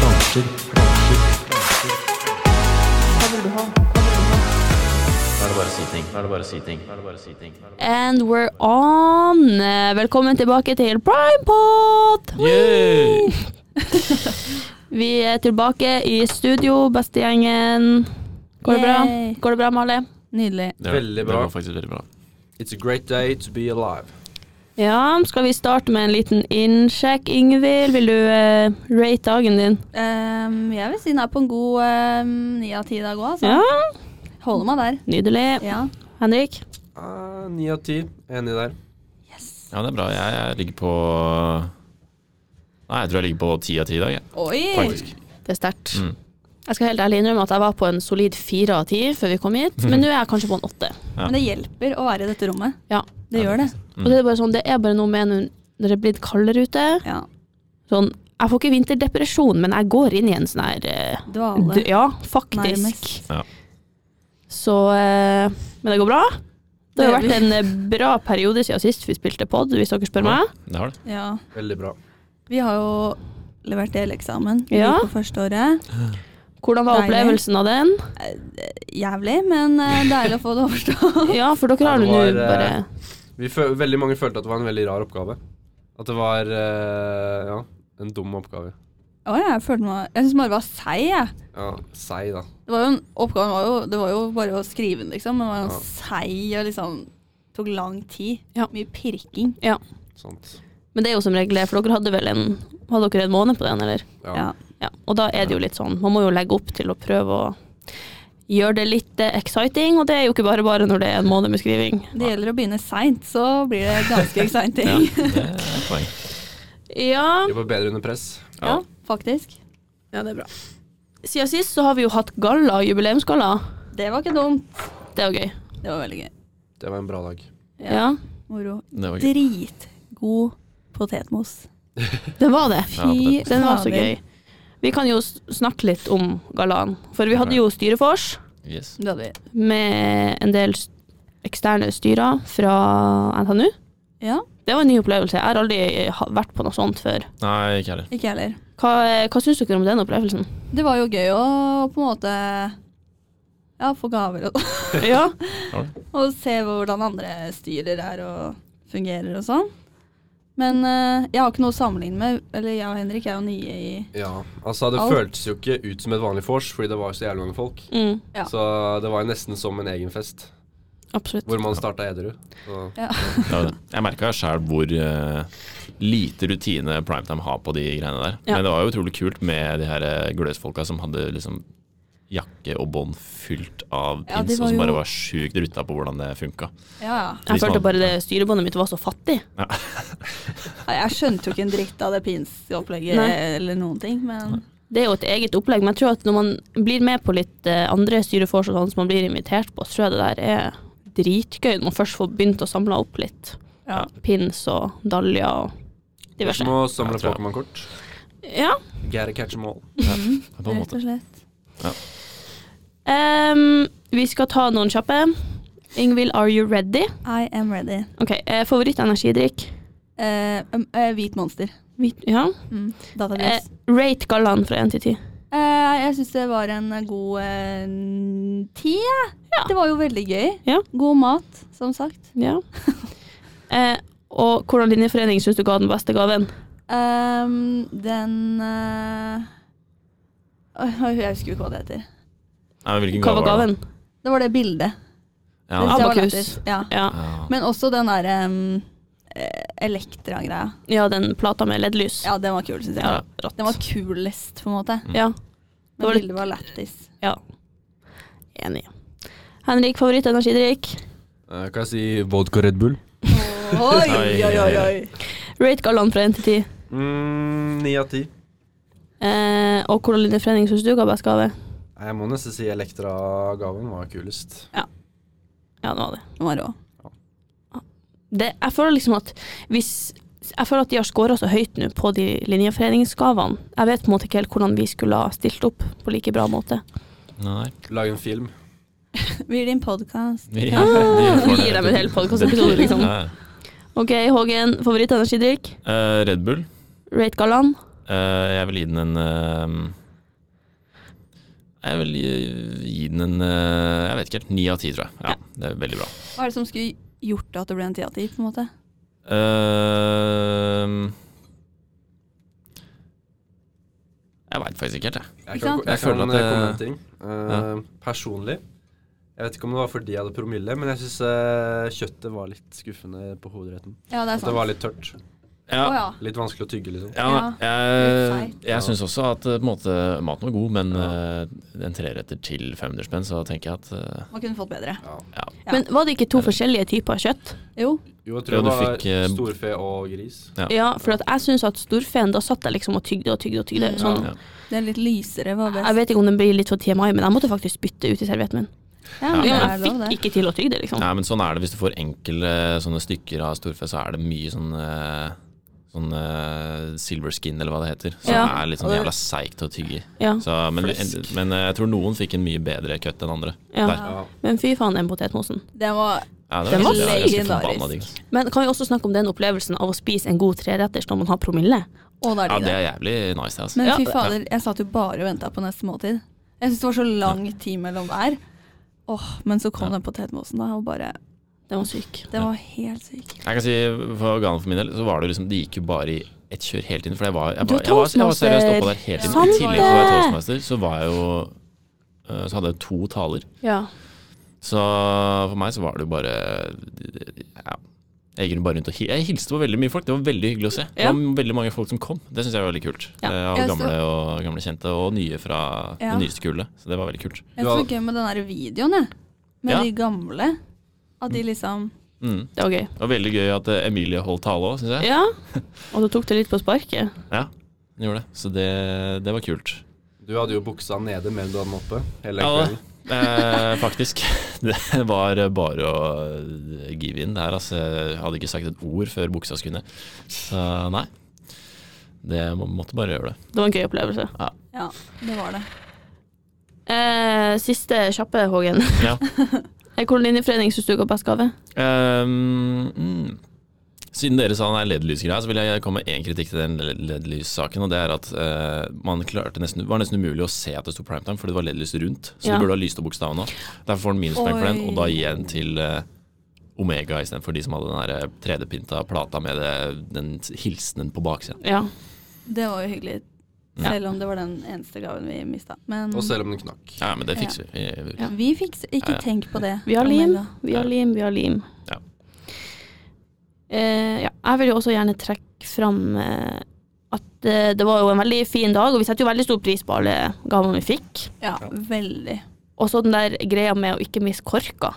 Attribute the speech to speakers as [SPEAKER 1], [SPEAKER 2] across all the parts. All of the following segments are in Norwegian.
[SPEAKER 1] bransjer, bransjer, bransjer. Hva vil du ha? Hva vil du ha?
[SPEAKER 2] Da er det bare å si ting. Da er det bare å si ting. Da er det bare å si ting.
[SPEAKER 3] And we're on! Velkommen tilbake til Primepod!
[SPEAKER 2] Yay!
[SPEAKER 3] Vi er tilbake i studio, bestegjengen. Går det bra?
[SPEAKER 4] Yay.
[SPEAKER 3] Går det bra, Mali?
[SPEAKER 4] Nydelig.
[SPEAKER 2] Det,
[SPEAKER 5] Veldig
[SPEAKER 2] Det
[SPEAKER 5] bra.
[SPEAKER 2] var faktisk veldig bra.
[SPEAKER 5] It's a great day to be alive.
[SPEAKER 3] Ja, skal vi starte med en liten innsjekk? Ingvild, vil du eh, rate dagen din?
[SPEAKER 4] Ehm, jeg vil si den er på en god ehm, ni av ti i dag òg, altså.
[SPEAKER 3] Ja,
[SPEAKER 4] Holder meg der.
[SPEAKER 3] nydelig.
[SPEAKER 4] Ja.
[SPEAKER 3] Henrik?
[SPEAKER 5] Ah, Ni av ti. Enig der.
[SPEAKER 2] Ja, det er bra. Jeg, jeg ligger på Nei, jeg tror jeg ligger på ti av ti i dag, jeg.
[SPEAKER 4] Oi!
[SPEAKER 2] faktisk.
[SPEAKER 3] Det er sterkt.
[SPEAKER 2] Mm.
[SPEAKER 3] Jeg skal helt ærlig innrømme at jeg var på en solid fire av ti før vi kom hit, men nå er jeg kanskje på en åtte.
[SPEAKER 2] Ja.
[SPEAKER 4] Men det hjelper å være i dette rommet.
[SPEAKER 3] Ja.
[SPEAKER 4] Det gjør det.
[SPEAKER 3] Og det er bare sånn, det er bare noe med når- når det er blitt kaldere ute.
[SPEAKER 4] Ja.
[SPEAKER 3] Sånn, jeg får ikke vinterdepresjon, men jeg går inn i en sånn her eh,
[SPEAKER 4] Dvale.
[SPEAKER 3] d- Ja, faktisk.
[SPEAKER 4] Nærmest.
[SPEAKER 2] Ja.
[SPEAKER 3] Så eh, Men det går bra. Det har jo
[SPEAKER 4] Det gjør
[SPEAKER 3] vært en eh, bra periode siden sist vi spilte pod, hvis dere spør
[SPEAKER 2] Ja.
[SPEAKER 3] meg.
[SPEAKER 2] Det har det.
[SPEAKER 4] Ja.
[SPEAKER 5] Veldig bra.
[SPEAKER 4] Vi har jo levert deleksamen
[SPEAKER 3] Ja.
[SPEAKER 4] på første året.
[SPEAKER 3] Hvordan var
[SPEAKER 4] Deilig.
[SPEAKER 3] opplevelsen av den?
[SPEAKER 4] Jævlig, men eh, deilig å få det overstått.
[SPEAKER 3] Ja, for dere har
[SPEAKER 5] Ja,
[SPEAKER 3] jo
[SPEAKER 5] det
[SPEAKER 3] nå
[SPEAKER 5] var, eh,
[SPEAKER 3] bare
[SPEAKER 5] Vi føl veldig mange følte at det var en veldig rar oppgave. At det var eh, ja, en dum oppgave.
[SPEAKER 4] Å, jeg følte meg Jeg syns bare det var seig, jeg.
[SPEAKER 5] Ja, Seig, da.
[SPEAKER 4] Det var jo en, oppgaven var jo Det var jo bare å skrive den, liksom. Men det var
[SPEAKER 5] Ja.
[SPEAKER 4] jo seig og liksom Tok lang tid.
[SPEAKER 3] Ja.
[SPEAKER 4] Mye pirking.
[SPEAKER 5] Sant.
[SPEAKER 3] Men det er jo som regel det, for dere hadde vel en Hadde dere en måned på den, eller?
[SPEAKER 5] Ja.
[SPEAKER 4] Ja.
[SPEAKER 3] Ja, og da er det jo litt sånn, man må jo legge opp til å prøve å gjøre det litt eh, exciting, og det er jo ikke bare bare når det er en måned med skriving.
[SPEAKER 4] Det gjelder å begynne seint, så blir det ganske
[SPEAKER 2] Ja,
[SPEAKER 4] exciting.
[SPEAKER 2] det er et poeng.
[SPEAKER 3] Ja,
[SPEAKER 5] Jobber bedre under press.
[SPEAKER 3] ja.
[SPEAKER 4] Faktisk.
[SPEAKER 3] det er bra. Siden sist så har vi jo hatt galla, jubileumsgalla.
[SPEAKER 4] Det var ikke dumt.
[SPEAKER 3] Det er jo gøy.
[SPEAKER 4] Det var veldig gøy.
[SPEAKER 5] Det var en bra dag.
[SPEAKER 3] Ja,
[SPEAKER 4] Moro.
[SPEAKER 2] Det var gøy.
[SPEAKER 4] Dritgod potetmos.
[SPEAKER 3] den var det.
[SPEAKER 2] Ja,
[SPEAKER 4] Fy
[SPEAKER 2] potet.
[SPEAKER 3] Den var så
[SPEAKER 4] fader.
[SPEAKER 3] gøy. Vi kan jo s- snakke litt om gallaen, for vi hadde jo styrefors
[SPEAKER 2] Yes.
[SPEAKER 4] Det hadde vi.
[SPEAKER 3] med en del s- eksterne styrer fra NTNU.
[SPEAKER 4] Ja,
[SPEAKER 3] Det var en ny opplevelse. Jeg har aldri eh, ha- vært på noe sånt før.
[SPEAKER 2] Nei, ikke heller.
[SPEAKER 4] ikke jeg heller.
[SPEAKER 3] Hva, hva syns dere om den opplevelsen?
[SPEAKER 4] Det var jo gøy å på en måte ja, få gaver og,
[SPEAKER 3] Ja,
[SPEAKER 4] og se hvordan andre styrer er og fungerer og sånn. Men eh, jeg har ikke noe å sammenligne med. Eller jeg og Henrik er jo nye i
[SPEAKER 5] Ja, altså Det
[SPEAKER 4] Alt.
[SPEAKER 5] føltes jo ikke ut som et vanlig vors, fordi det var så jævlig mange folk.
[SPEAKER 3] mm,
[SPEAKER 4] Ja.
[SPEAKER 5] Så det var jo nesten som en egen fest,
[SPEAKER 3] absolutt.
[SPEAKER 5] hvor man starta edru. Så
[SPEAKER 2] Det var det. Jeg merka sjæl hvor eh, lite rutine primetime har på de greiene der.
[SPEAKER 3] Ja.
[SPEAKER 2] Men det var jo utrolig kult med de her eh, gløsfolka som hadde liksom jakke og bånd fylt av
[SPEAKER 4] Ja, de
[SPEAKER 2] pins,
[SPEAKER 4] var
[SPEAKER 2] og som
[SPEAKER 4] jo-
[SPEAKER 2] bare var sjukt rutta på hvordan det funka.
[SPEAKER 4] Ja, ja.
[SPEAKER 3] Jeg
[SPEAKER 2] Hvis man-
[SPEAKER 3] følte bare det styrebåndet mitt var så fattig.
[SPEAKER 4] Nei, Jeg skjønte jo ikke en dritt av det pinsopplegget
[SPEAKER 3] Nei.
[SPEAKER 4] eller noen ting, men
[SPEAKER 3] Det er jo et eget opplegg, men jeg tror at når man blir med på litt eh, andre styrefors og sånn som man blir invitert på, så tror jeg det der er dritgøy når man først får begynt å samle opp litt
[SPEAKER 4] ja.
[SPEAKER 3] pins og daljer og diverse.
[SPEAKER 5] må samle
[SPEAKER 2] Jeg tror-
[SPEAKER 5] Pokémon-kort.
[SPEAKER 3] Ja.
[SPEAKER 5] Gotta catch them all.
[SPEAKER 2] På en
[SPEAKER 4] Rett
[SPEAKER 2] måte.
[SPEAKER 4] og slett.
[SPEAKER 3] Em, vi skal ta noen kjappe. Ingvild, are you ready?
[SPEAKER 4] I am ready.
[SPEAKER 3] Ok, eh, Favorittenergidrikk?
[SPEAKER 4] Eh, um, eh, hvit monster.
[SPEAKER 3] Hvit- Ja.
[SPEAKER 4] Mm.
[SPEAKER 3] Eh,
[SPEAKER 4] Datalys.
[SPEAKER 3] rate gallaen fra 1 til 10.
[SPEAKER 4] Eh, jeg syns det var en god eh, tid, jeg.
[SPEAKER 3] Ja.
[SPEAKER 4] Det var jo veldig gøy.
[SPEAKER 3] Ja.
[SPEAKER 4] God mat, som sagt.
[SPEAKER 3] Ja. Eh, og hvordan linjeforening syns du ga den beste gaven?
[SPEAKER 4] Ehm, den eh, åh, Jeg husker jo ikke hva det heter.
[SPEAKER 2] Nei, men hvilken
[SPEAKER 3] Hva var
[SPEAKER 2] gave
[SPEAKER 3] gaven?
[SPEAKER 2] det?
[SPEAKER 4] Det var det bildet.
[SPEAKER 2] Ja,
[SPEAKER 4] Det synes jeg var
[SPEAKER 3] Abacus.
[SPEAKER 4] lættis. Ja.
[SPEAKER 3] Ja.
[SPEAKER 2] ja.
[SPEAKER 4] Men også den derre Elektra-greia.
[SPEAKER 3] Ja, den plata med LED-lys.
[SPEAKER 4] Ja, den var kul, syns jeg.
[SPEAKER 3] Ja, rått.
[SPEAKER 4] Den var kulest, på en måte.
[SPEAKER 3] Ja, Det
[SPEAKER 4] Men
[SPEAKER 3] var litt-
[SPEAKER 4] bildet var lættis.
[SPEAKER 3] enig. Henrik, favorittenergidrikk?
[SPEAKER 5] Eh, kan jeg si vodka Red Bull?
[SPEAKER 4] Oi,
[SPEAKER 2] Oi, oi, oi, oi.
[SPEAKER 3] Rate gallaen fra 1 til 10.
[SPEAKER 5] Mm, Ni av ti.
[SPEAKER 3] Eh, og hvordan linjeforening syns du ga best gave?
[SPEAKER 5] Nei, Jeg må nesten si Elektra-gaven var kulest.
[SPEAKER 3] Ja, det var det.
[SPEAKER 4] Den var rå.
[SPEAKER 3] det jeg føler liksom at hvis jeg føler at de har skåra så høyt nå på de linjeforeningsgavene. Jeg vet på en måte ikke helt hvordan vi skulle ha stilt opp på like bra måte.
[SPEAKER 2] Nei.
[SPEAKER 5] Lage en film.
[SPEAKER 4] Blir din podkast.
[SPEAKER 2] Vi,
[SPEAKER 3] Ah,
[SPEAKER 2] vi får
[SPEAKER 3] vi gir
[SPEAKER 2] det.
[SPEAKER 3] dem en hel podcastepisode, liksom.
[SPEAKER 2] Ja, ja.
[SPEAKER 3] OK, Hågen. Favorittenergidrikk?
[SPEAKER 2] Eh, Red Bull.
[SPEAKER 3] Rate gallaen?
[SPEAKER 2] Eh, jeg vil gi den en eh, Jeg vil gi, gi den en eh, Jeg vet ikke helt. Ni av ti, tror jeg. Ja, Det er veldig bra.
[SPEAKER 4] Hva er det som skulle gjort at det ble en ti av ti, på en måte?
[SPEAKER 2] Ehm, jeg veit faktisk ikke helt, jeg.
[SPEAKER 5] Jeg
[SPEAKER 4] Ikke
[SPEAKER 5] kan,
[SPEAKER 4] sant?
[SPEAKER 5] jeg
[SPEAKER 2] Jeg
[SPEAKER 5] kan
[SPEAKER 2] føler at
[SPEAKER 5] eh,
[SPEAKER 2] det-
[SPEAKER 5] komme med en ting. Eh, Personlig Jeg vet ikke om det var fordi jeg hadde promille, men jeg syns kjøttet var litt skuffende på hovedretten.
[SPEAKER 4] Ja, det er
[SPEAKER 5] At det
[SPEAKER 4] sant.
[SPEAKER 5] var litt tørt.
[SPEAKER 2] Ja,
[SPEAKER 4] Å ja.
[SPEAKER 5] Litt vanskelig å tygge, liksom.
[SPEAKER 2] Ja, jeg,
[SPEAKER 4] litt
[SPEAKER 2] jeg syns også at eh, på en måte, maten var god, men
[SPEAKER 5] Ja.
[SPEAKER 2] eh, en treretter til 500 spenn, så tenker jeg at eh,
[SPEAKER 4] Man kunne fått bedre.
[SPEAKER 5] Ja.
[SPEAKER 2] ja.
[SPEAKER 4] Ja.
[SPEAKER 3] Men var det ikke to
[SPEAKER 2] Er det-
[SPEAKER 3] forskjellige typer kjøtt?
[SPEAKER 4] Jo.
[SPEAKER 5] Jo, jeg
[SPEAKER 2] Ja,
[SPEAKER 5] tror
[SPEAKER 2] du
[SPEAKER 5] det var
[SPEAKER 2] fikk, eh,
[SPEAKER 5] storfe og gris.
[SPEAKER 2] Ja.
[SPEAKER 3] Ja, for at jeg syns at storfeen, da satt jeg liksom og tygde og tygde og tygde.
[SPEAKER 4] Mm.
[SPEAKER 3] Sånn.
[SPEAKER 2] Ja.
[SPEAKER 4] Den litt lysere var best.
[SPEAKER 3] Jeg vet ikke om den blir litt for TMI, men jeg måtte faktisk spytte ut i servietten min.
[SPEAKER 4] Ja,
[SPEAKER 3] Ja,
[SPEAKER 4] men det
[SPEAKER 3] jeg
[SPEAKER 4] er lov,
[SPEAKER 3] fikk
[SPEAKER 4] det.
[SPEAKER 3] ikke til å tygge det, liksom.
[SPEAKER 2] Nei, men sånn er det hvis du får enkle sånne stykker av storfe, så er det mye sånn eh, Sånn eh, silver skin, eller hva det heter. Som
[SPEAKER 3] Ja.
[SPEAKER 2] er litt sånn jævla seigt å tygge i.
[SPEAKER 3] Ja,
[SPEAKER 2] Så, Men,
[SPEAKER 5] Flesk.
[SPEAKER 2] men eh, jeg tror noen fikk en mye bedre cut enn andre.
[SPEAKER 3] ja.
[SPEAKER 2] Der.
[SPEAKER 5] Ja.
[SPEAKER 3] Men fy faen, den potetmosen.
[SPEAKER 4] Den var
[SPEAKER 2] Ja, det
[SPEAKER 3] Den var
[SPEAKER 2] det ganske
[SPEAKER 4] legendarisk.
[SPEAKER 2] forbanna digg, ass.
[SPEAKER 3] Men kan vi også snakke om den opplevelsen av å spise en god treretters når man har promille?
[SPEAKER 4] Å, det er
[SPEAKER 2] Ja, det
[SPEAKER 4] de der.
[SPEAKER 2] er jævlig nice, det. Altså.
[SPEAKER 4] Men
[SPEAKER 3] Ja.
[SPEAKER 4] fy fader, jeg satt jo bare og venta på neste måltid. Jeg syns det var så lang tid mellom hver. Åh, Men så kom
[SPEAKER 2] Ja.
[SPEAKER 4] den potetmosen, da, og bare
[SPEAKER 3] Den var syk.
[SPEAKER 4] Den var helt syk.
[SPEAKER 2] Jeg kan si for organet for min del, så var det liksom Det gikk jo bare i ett kjør hele tiden. For jeg var, jeg
[SPEAKER 3] Du er
[SPEAKER 2] var, jeg var, jeg var seriøst oppå der hele tiden.
[SPEAKER 3] Sant
[SPEAKER 2] I tillegg til å være
[SPEAKER 3] det!
[SPEAKER 2] toastmaster, så var jeg jo eh, Så hadde jeg to taler.
[SPEAKER 3] Ja.
[SPEAKER 2] Så for meg så var det jo bare ja, Jeg gikk bare rundt og hi- Jeg hilste på veldig mye folk. Det var veldig hyggelig å se. Det
[SPEAKER 3] Ja.
[SPEAKER 2] var veldig mange folk som kom. Det syns jeg var veldig kult.
[SPEAKER 3] Ja.
[SPEAKER 2] Eh, Av
[SPEAKER 4] Jeg så-
[SPEAKER 2] gamle og gamle kjente, og nye fra
[SPEAKER 4] Ja.
[SPEAKER 2] det nyeste kullet. Så det var veldig kult.
[SPEAKER 4] Jeg
[SPEAKER 5] Du
[SPEAKER 4] tror
[SPEAKER 5] har-
[SPEAKER 4] det var gøy med den der videoen, jeg. Med
[SPEAKER 2] Ja.
[SPEAKER 4] de gamle. At de liksom
[SPEAKER 2] Mm.
[SPEAKER 3] Det var gøy.
[SPEAKER 2] Det var veldig gøy at eh, Emilie holdt tale òg, syns jeg.
[SPEAKER 3] Ja. Og du tok det litt på sparket.
[SPEAKER 2] Ja, hun gjorde det. Så det, det var kult.
[SPEAKER 5] Du hadde jo buksa nede mer enn du hadde den oppe. Hele
[SPEAKER 2] Ja,
[SPEAKER 5] kvelden.
[SPEAKER 2] Eh, faktisk. Det var bare å give in der. Altså, jeg hadde ikke sagt et ord før buksa skulle ned. Så nei. Det må, måtte bare gjøre det.
[SPEAKER 3] Det var en gøy opplevelse.
[SPEAKER 4] Ja, det var det.
[SPEAKER 3] Eh, siste kjappe, Hågen.
[SPEAKER 2] Ja.
[SPEAKER 3] Hvilken linjeforening syns du ga best gave?
[SPEAKER 2] Ehm, mm. Siden dere sa den er LED-lysgreia, så vil jeg komme med én kritikk til den LED-lyssaken. Og det er at eh, man klarte nesten, det var nesten umulig å se at det sto primetime, fordi det var LED-lys rundt. Så
[SPEAKER 3] Ja.
[SPEAKER 2] du burde ha lyst opp bokstavene òg. Derfor får den minuspoeng for den, og da gir jeg den til eh, Omega istedenfor de som hadde den der 3D-printa plata med det, den hilsenen på baksida.
[SPEAKER 3] Ja.
[SPEAKER 4] Det var jo hyggelig.
[SPEAKER 2] Ja.
[SPEAKER 4] Selv om det var den eneste gaven vi mista. Men
[SPEAKER 5] Og selv om den knakk.
[SPEAKER 2] Ja, men det fikser vi. vi.
[SPEAKER 3] Ja.
[SPEAKER 4] vi fikk
[SPEAKER 2] Ja,
[SPEAKER 4] Ikke
[SPEAKER 2] ja.
[SPEAKER 4] tenk på det.
[SPEAKER 3] Vi har lim,
[SPEAKER 4] Amanda.
[SPEAKER 3] vi har lim, vi har lim.
[SPEAKER 2] Ja.
[SPEAKER 3] Eh, ja. Jeg vil jo også gjerne trekke fram eh, at eh, det var jo en veldig fin dag, og vi setter jo veldig stor pris på alle gavene vi fikk.
[SPEAKER 4] Ja, veldig.
[SPEAKER 3] Og så den der greia med å ikke miste korka.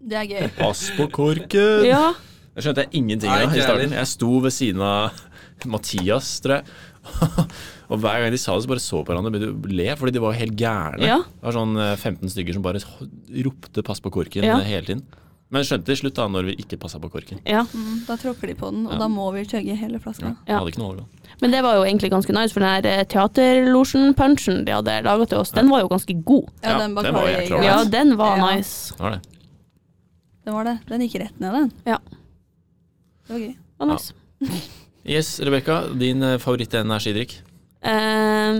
[SPEAKER 4] Det er gøy.
[SPEAKER 2] Pass på korken!
[SPEAKER 3] Ja.
[SPEAKER 2] Jeg skjønte jeg ingenting
[SPEAKER 5] Nei,
[SPEAKER 2] av i
[SPEAKER 5] ikke
[SPEAKER 2] starten.
[SPEAKER 5] heller.
[SPEAKER 2] Jeg sto ved siden av Mathias, tror jeg. Og hver gang de sa det, så bare så på hverandre og begynte å le, fordi de var helt gærne.
[SPEAKER 3] Ja.
[SPEAKER 2] Det var sånn eh, 15 stykker som bare ropte 'pass på korken'
[SPEAKER 3] Ja.
[SPEAKER 2] eh, hele tiden. Men jeg skjønte til slutt da når vi ikke passa på korken.
[SPEAKER 3] ja.
[SPEAKER 4] Mm, da tråkker de på den, og
[SPEAKER 2] Ja.
[SPEAKER 4] da må vi chugge hele flaska.
[SPEAKER 2] Jeg Hadde ikke noe overgang.
[SPEAKER 3] Men det var jo egentlig ganske nice, for den her eh, teaterlosjen-punchen de hadde laga til oss, den var jo ganske god.
[SPEAKER 4] Ja,
[SPEAKER 2] Ja,
[SPEAKER 4] den
[SPEAKER 2] den var
[SPEAKER 4] Bacardi-
[SPEAKER 2] jækla Ja.
[SPEAKER 3] Ja, den var
[SPEAKER 4] Ja.
[SPEAKER 3] nice.
[SPEAKER 2] Det var det.
[SPEAKER 4] Den var det. Den gikk rett ned, den.
[SPEAKER 3] Ja.
[SPEAKER 4] Det var gøy.
[SPEAKER 3] Det var nice.
[SPEAKER 2] Yes, Rebekka. Din eh, favoritt-energidrikk?
[SPEAKER 3] Eh,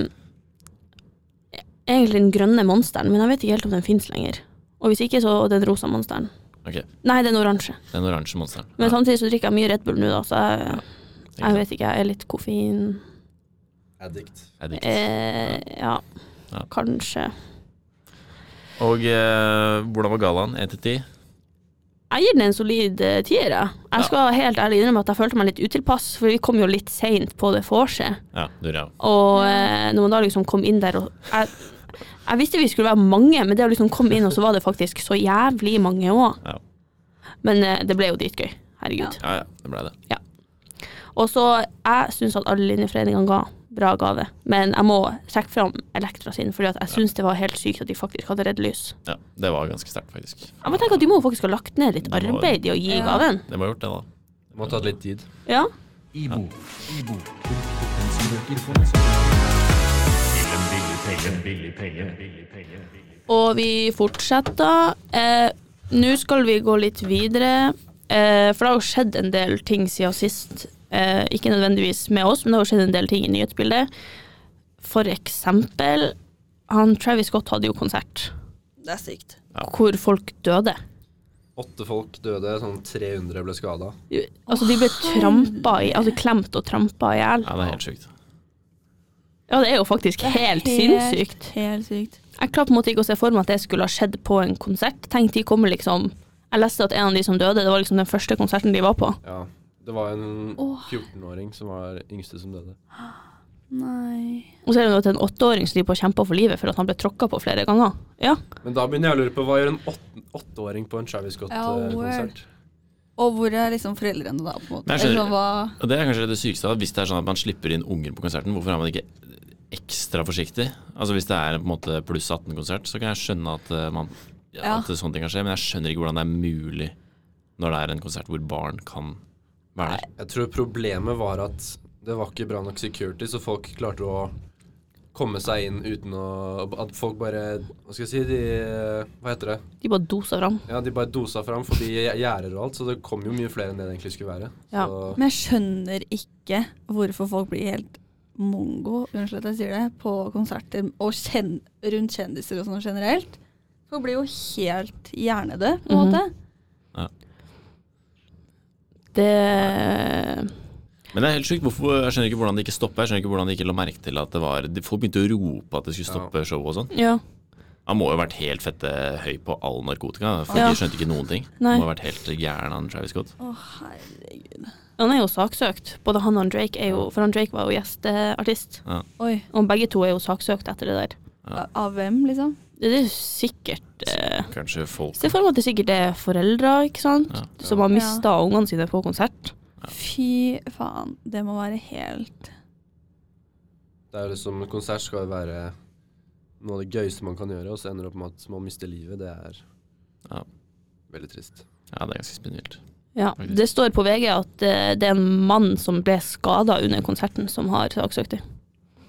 [SPEAKER 3] e-, egentlig den grønne monsteren, men jeg vet ikke helt om den fins lenger. Og hvis ikke, så den rosa monsteren.
[SPEAKER 2] Ok.
[SPEAKER 3] Nei, den oransje.
[SPEAKER 2] Den oransje monsteren.
[SPEAKER 3] Men
[SPEAKER 2] Ja,
[SPEAKER 3] samtidig så drikker jeg mye Red Bull nå, da, så jeg,
[SPEAKER 2] tenker
[SPEAKER 3] jeg
[SPEAKER 2] jeg.
[SPEAKER 3] vet ikke. Jeg er litt koffein
[SPEAKER 5] Addict.
[SPEAKER 2] Addict.
[SPEAKER 3] eh, Ja,
[SPEAKER 2] Ja.
[SPEAKER 3] kanskje.
[SPEAKER 2] Og eh, hvordan var gallaen? 1 til 10?
[SPEAKER 3] Jeg gir den en solid eh, tier. jeg. Jeg skal helt ærlig innrømme at jeg følte meg litt utilpass, for vi kom jo litt seint på det vorset.
[SPEAKER 2] Ja, du ja.
[SPEAKER 3] Og eh, når man da liksom kom inn der og jeg, jeg visste vi skulle være mange, men det å liksom komme inn, og så var det faktisk så jævlig mange òg.
[SPEAKER 2] Ja.
[SPEAKER 3] Men eh, det ble jo dritgøy. Herregud.
[SPEAKER 2] Ja, ja, det blei det.
[SPEAKER 3] Og så jeg syns at alle linjeforeningene ga bra gave, men jeg må trekke fram Elektra sin, fordi at jeg syns det var helt sykt at de faktisk hadde redd lys.
[SPEAKER 2] Ja, det var ganske sterkt, faktisk.
[SPEAKER 3] Jeg må tenke at de må jo faktisk ha lagt ned litt
[SPEAKER 2] Det må-
[SPEAKER 3] arbeid i å gi
[SPEAKER 4] Ja.
[SPEAKER 3] gaven.
[SPEAKER 2] Det må ha gjort det, da.
[SPEAKER 5] Må ha tatt litt tid.
[SPEAKER 3] Ja.
[SPEAKER 1] Ibo. Ibo. Pensumbøker for pensumbøker.
[SPEAKER 3] Og vi fortsetter. Eh, Nå skal vi gå litt videre, eh, for det har jo skjedd en del ting siden sist. Eh, ikke nødvendigvis med oss, men det har jo skjedd en del ting i nyhetsbildet. For eksempel han Travis Scott hadde jo konsert
[SPEAKER 4] Det er sykt.
[SPEAKER 2] Ja.
[SPEAKER 3] hvor folk døde.
[SPEAKER 5] Åtte folk døde, sånn 300 ble skada.
[SPEAKER 3] Altså, de ble trampa i, altså klemt og trampa i hjel.
[SPEAKER 2] Ja, det er helt sjukt.
[SPEAKER 3] Ja, det er jo faktisk helt sinnssykt.
[SPEAKER 4] Helt sykt.
[SPEAKER 3] Jeg klarte på en måte ikke å se for meg at det skulle ha skjedd på en konsert. Tenk, de kommer liksom Jeg leste at en av de som døde, det var liksom den første konserten de var på.
[SPEAKER 5] Ja. Det var en
[SPEAKER 4] Åh.
[SPEAKER 5] 14-åring som var yngste som døde.
[SPEAKER 4] Nei.
[SPEAKER 3] Og så er det jo at en åtteåring som de på kjempa for livet for at han ble tråkka på flere ganger. Ja.
[SPEAKER 5] Men da begynner jeg å lure på hva gjør en åtte- åtteåring på en Travis eh,
[SPEAKER 4] Ja, word.
[SPEAKER 5] Scott-konsert?
[SPEAKER 4] Og hvor er liksom foreldrene da, på en måte?
[SPEAKER 2] Nei, skjønner.
[SPEAKER 4] Eller sånn, hva...
[SPEAKER 2] Og det er kanskje det sykeste. da, Hvis det er sånn at man slipper inn unger på konserten, hvorfor er man ikke ekstra forsiktig? Altså Hvis det er på en måte pluss 18-konsert, så kan jeg skjønne at, eh, man, ja,
[SPEAKER 4] Ja.
[SPEAKER 2] at sånne ting kan skje, men jeg skjønner ikke hvordan det er mulig når det er en konsert hvor barn kan være der.
[SPEAKER 5] Jeg tror problemet var at det var ikke bra nok security, så folk klarte å komme seg inn uten å At folk bare Hva skal jeg si? De Hva heter det?
[SPEAKER 3] De bare dosa fram.
[SPEAKER 5] Ja, de bare dosa fram forbi gjerder og alt, så det kom jo mye flere enn det det egentlig skulle være.
[SPEAKER 3] Ja.
[SPEAKER 5] Så,
[SPEAKER 4] Men jeg skjønner ikke hvorfor folk blir helt mongo, unnskyld at jeg sier det, på konserter og kjen rundt kjendiser og sånn generelt. Folk blir jo helt hjernedød, på en
[SPEAKER 3] Mhm.
[SPEAKER 4] måte.
[SPEAKER 3] Det
[SPEAKER 2] Men det er helt sjukt. Hvorfor, jeg skjønner ikke hvordan det ikke stoppa. Jeg skjønner ikke hvordan de ikke la merke til at det var de- Folk begynte å rope at det skulle stoppe showet og sånn.
[SPEAKER 3] Ja.
[SPEAKER 2] Han må jo ha vært helt fette høy på all narkotika. For
[SPEAKER 3] Ja.
[SPEAKER 2] De skjønte ikke noen ting.
[SPEAKER 3] Nei.
[SPEAKER 2] Han må ha vært helt gæren, han Travis Scott.
[SPEAKER 4] Å, herregud.
[SPEAKER 3] Han er jo saksøkt. Både han og han Drake er jo For han Drake var jo gjesteartist.
[SPEAKER 4] Oi.
[SPEAKER 3] Og begge to er jo saksøkt etter det der.
[SPEAKER 2] Ja.
[SPEAKER 4] Av- Av hvem, liksom?
[SPEAKER 3] Det er jo sikkert eh,
[SPEAKER 2] Kanskje folk
[SPEAKER 3] Se for meg at det sikkert er foreldre ikke sant?
[SPEAKER 2] Ja.
[SPEAKER 3] som har mista ungene sine på konsert.
[SPEAKER 4] Fy faen, det må være helt
[SPEAKER 5] det er jo liksom Konsert skal jo være noe av det gøyeste man kan gjøre, og så ender det opp med at man mister livet. Det er
[SPEAKER 2] Ja.
[SPEAKER 5] veldig trist.
[SPEAKER 2] Ja, det er ganske spinnvilt.
[SPEAKER 3] Ja.
[SPEAKER 2] Ok.
[SPEAKER 3] Det står på VG at eh, det er en mann som ble skada under konserten, som har saksøkt dem.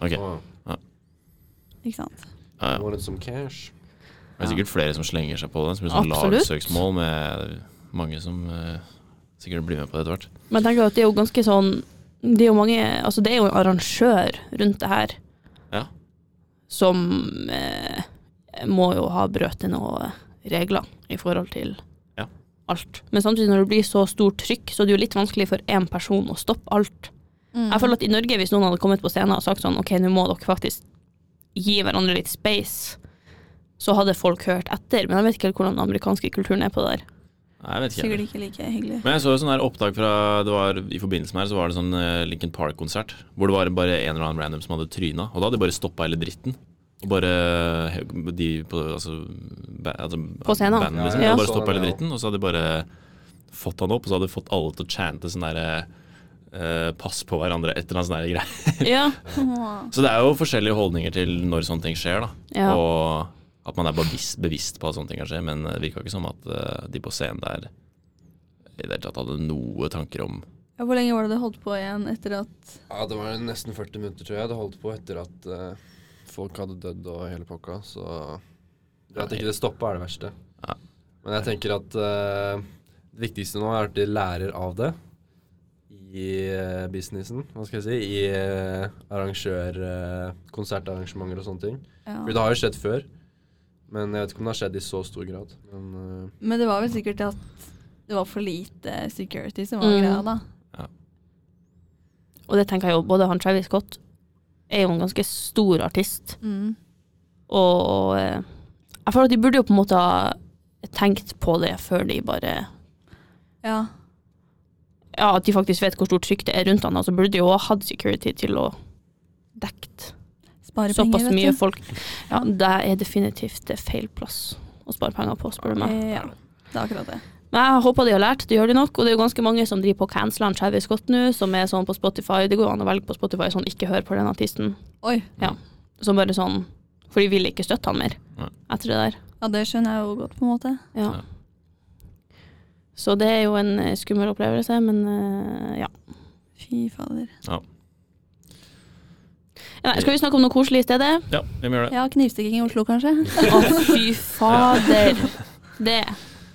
[SPEAKER 2] Ok, eh, ja,
[SPEAKER 5] Åh,
[SPEAKER 4] Ikke sant?
[SPEAKER 2] ja.
[SPEAKER 5] wanted some cash.
[SPEAKER 2] Det er sikkert flere som slenger seg på den. Som blir sånn
[SPEAKER 3] Absolutt.
[SPEAKER 2] lagsøksmål med mange som eh, sikkert blir med på det etter hvert.
[SPEAKER 3] Men jeg tenker at det er jo ganske sånn Det er jo mange Altså, det er jo en arrangør rundt det her
[SPEAKER 2] Ja.
[SPEAKER 3] som eh, må jo ha brøtet noen regler i forhold til
[SPEAKER 2] Ja.
[SPEAKER 3] alt. Men samtidig, når det blir så stort trykk, så er det jo litt vanskelig for én person å stoppe alt. Jeg føler at i Norge, hvis noen hadde kommet på scenen og sagt sånn OK, nå må dere faktisk gi hverandre litt space, så hadde folk hørt etter. Men jeg vet ikke helt hvordan den amerikanske kulturen er på det der.
[SPEAKER 2] Nei, jeg vet ikke.
[SPEAKER 4] Sikkert
[SPEAKER 2] heller.
[SPEAKER 4] ikke like hyggelig.
[SPEAKER 2] Men jeg så jo sånn her opptak fra det var, I forbindelse med her så var det sånn eh, Linkin Park-konsert. Hvor det var bare en eller annen random som hadde tryna. Og da hadde de bare stoppa hele dritten. Og bare he- de på Altså, ba, altså
[SPEAKER 3] På scenen.
[SPEAKER 2] Bandet,
[SPEAKER 3] Ja,
[SPEAKER 2] liksom. De
[SPEAKER 3] ja.
[SPEAKER 2] hadde bare stoppa
[SPEAKER 5] Sånn,
[SPEAKER 2] hele
[SPEAKER 5] ja.
[SPEAKER 2] dritten, og så hadde de bare fått han opp, og så hadde de fått alle til å chante sånn derre eh, pass på hverandre, et eller annet sånn der greie.
[SPEAKER 3] Ja.
[SPEAKER 4] Åh.
[SPEAKER 2] Så det er jo forskjellige holdninger til når sånne ting skjer, da.
[SPEAKER 3] Ja.
[SPEAKER 2] Og at man er bevisst, bevisst på at sånne ting kan skje, men det virka ikke som at eh, de på scenen der i det hele tatt hadde noe tanker om
[SPEAKER 4] Ja, Hvor lenge var det det holdt på igjen etter at
[SPEAKER 5] Ja, det var nesten 40 minutter, tror jeg. Det holdt på etter at eh, folk hadde dødd og hele pakka, så Det at ikke det stoppa, er det verste.
[SPEAKER 2] Ja.
[SPEAKER 5] Men jeg tenker at eh, det viktigste nå er at de lærer av det i eh, businessen, hva skal jeg si, i eh, arrangør, eh, konsertarrangementer og sånne ting.
[SPEAKER 4] ja.
[SPEAKER 5] For det har jo skjedd før, men jeg vet ikke om det har skjedd i så stor grad. Men eh,
[SPEAKER 4] Men det var vel sikkert at det var for lite security som var
[SPEAKER 3] Mm.
[SPEAKER 4] greia, da.
[SPEAKER 3] Og det tenker jeg jo, både han Travis Scott er jo en ganske stor artist, og eh, jeg føler at de burde jo på en måte ha tenkt på det før de bare
[SPEAKER 4] Ja.
[SPEAKER 3] Ja, at de faktisk vet hvor stort trykk det er rundt han, og så burde de jo ha hatt security til å dekke
[SPEAKER 4] Spare
[SPEAKER 3] såpass
[SPEAKER 4] penger,
[SPEAKER 3] mye
[SPEAKER 4] vet du.
[SPEAKER 3] folk. Ja, det er definitivt det er feil plass å spare penger på, spør du meg.
[SPEAKER 4] Eh, Ja, det er akkurat det.
[SPEAKER 3] Men jeg håper de har lært, det gjør de nok. Og det er jo ganske mange som driver på å cancele han Travis Scott nå, som er sånn på Spotify. Det går jo an å velge på Spotify sånn ikke hør på den artisten.
[SPEAKER 4] Oi.
[SPEAKER 3] Ja. Som bare sånn For de vil ikke støtte han mer
[SPEAKER 2] Nei.
[SPEAKER 3] etter det der.
[SPEAKER 4] Ja, det skjønner jeg jo godt, på en måte.
[SPEAKER 3] Ja.
[SPEAKER 2] Ja.
[SPEAKER 3] Så det er jo en eh, skummel opplevelse, men eh, ja.
[SPEAKER 4] Fy fader.
[SPEAKER 3] Nei, skal vi snakke om noe koselig i stedet?
[SPEAKER 2] Ja, vi må gjøre det.
[SPEAKER 4] Ja, knivstikking i Oslo, kanskje?
[SPEAKER 3] Å, fy fader. Det,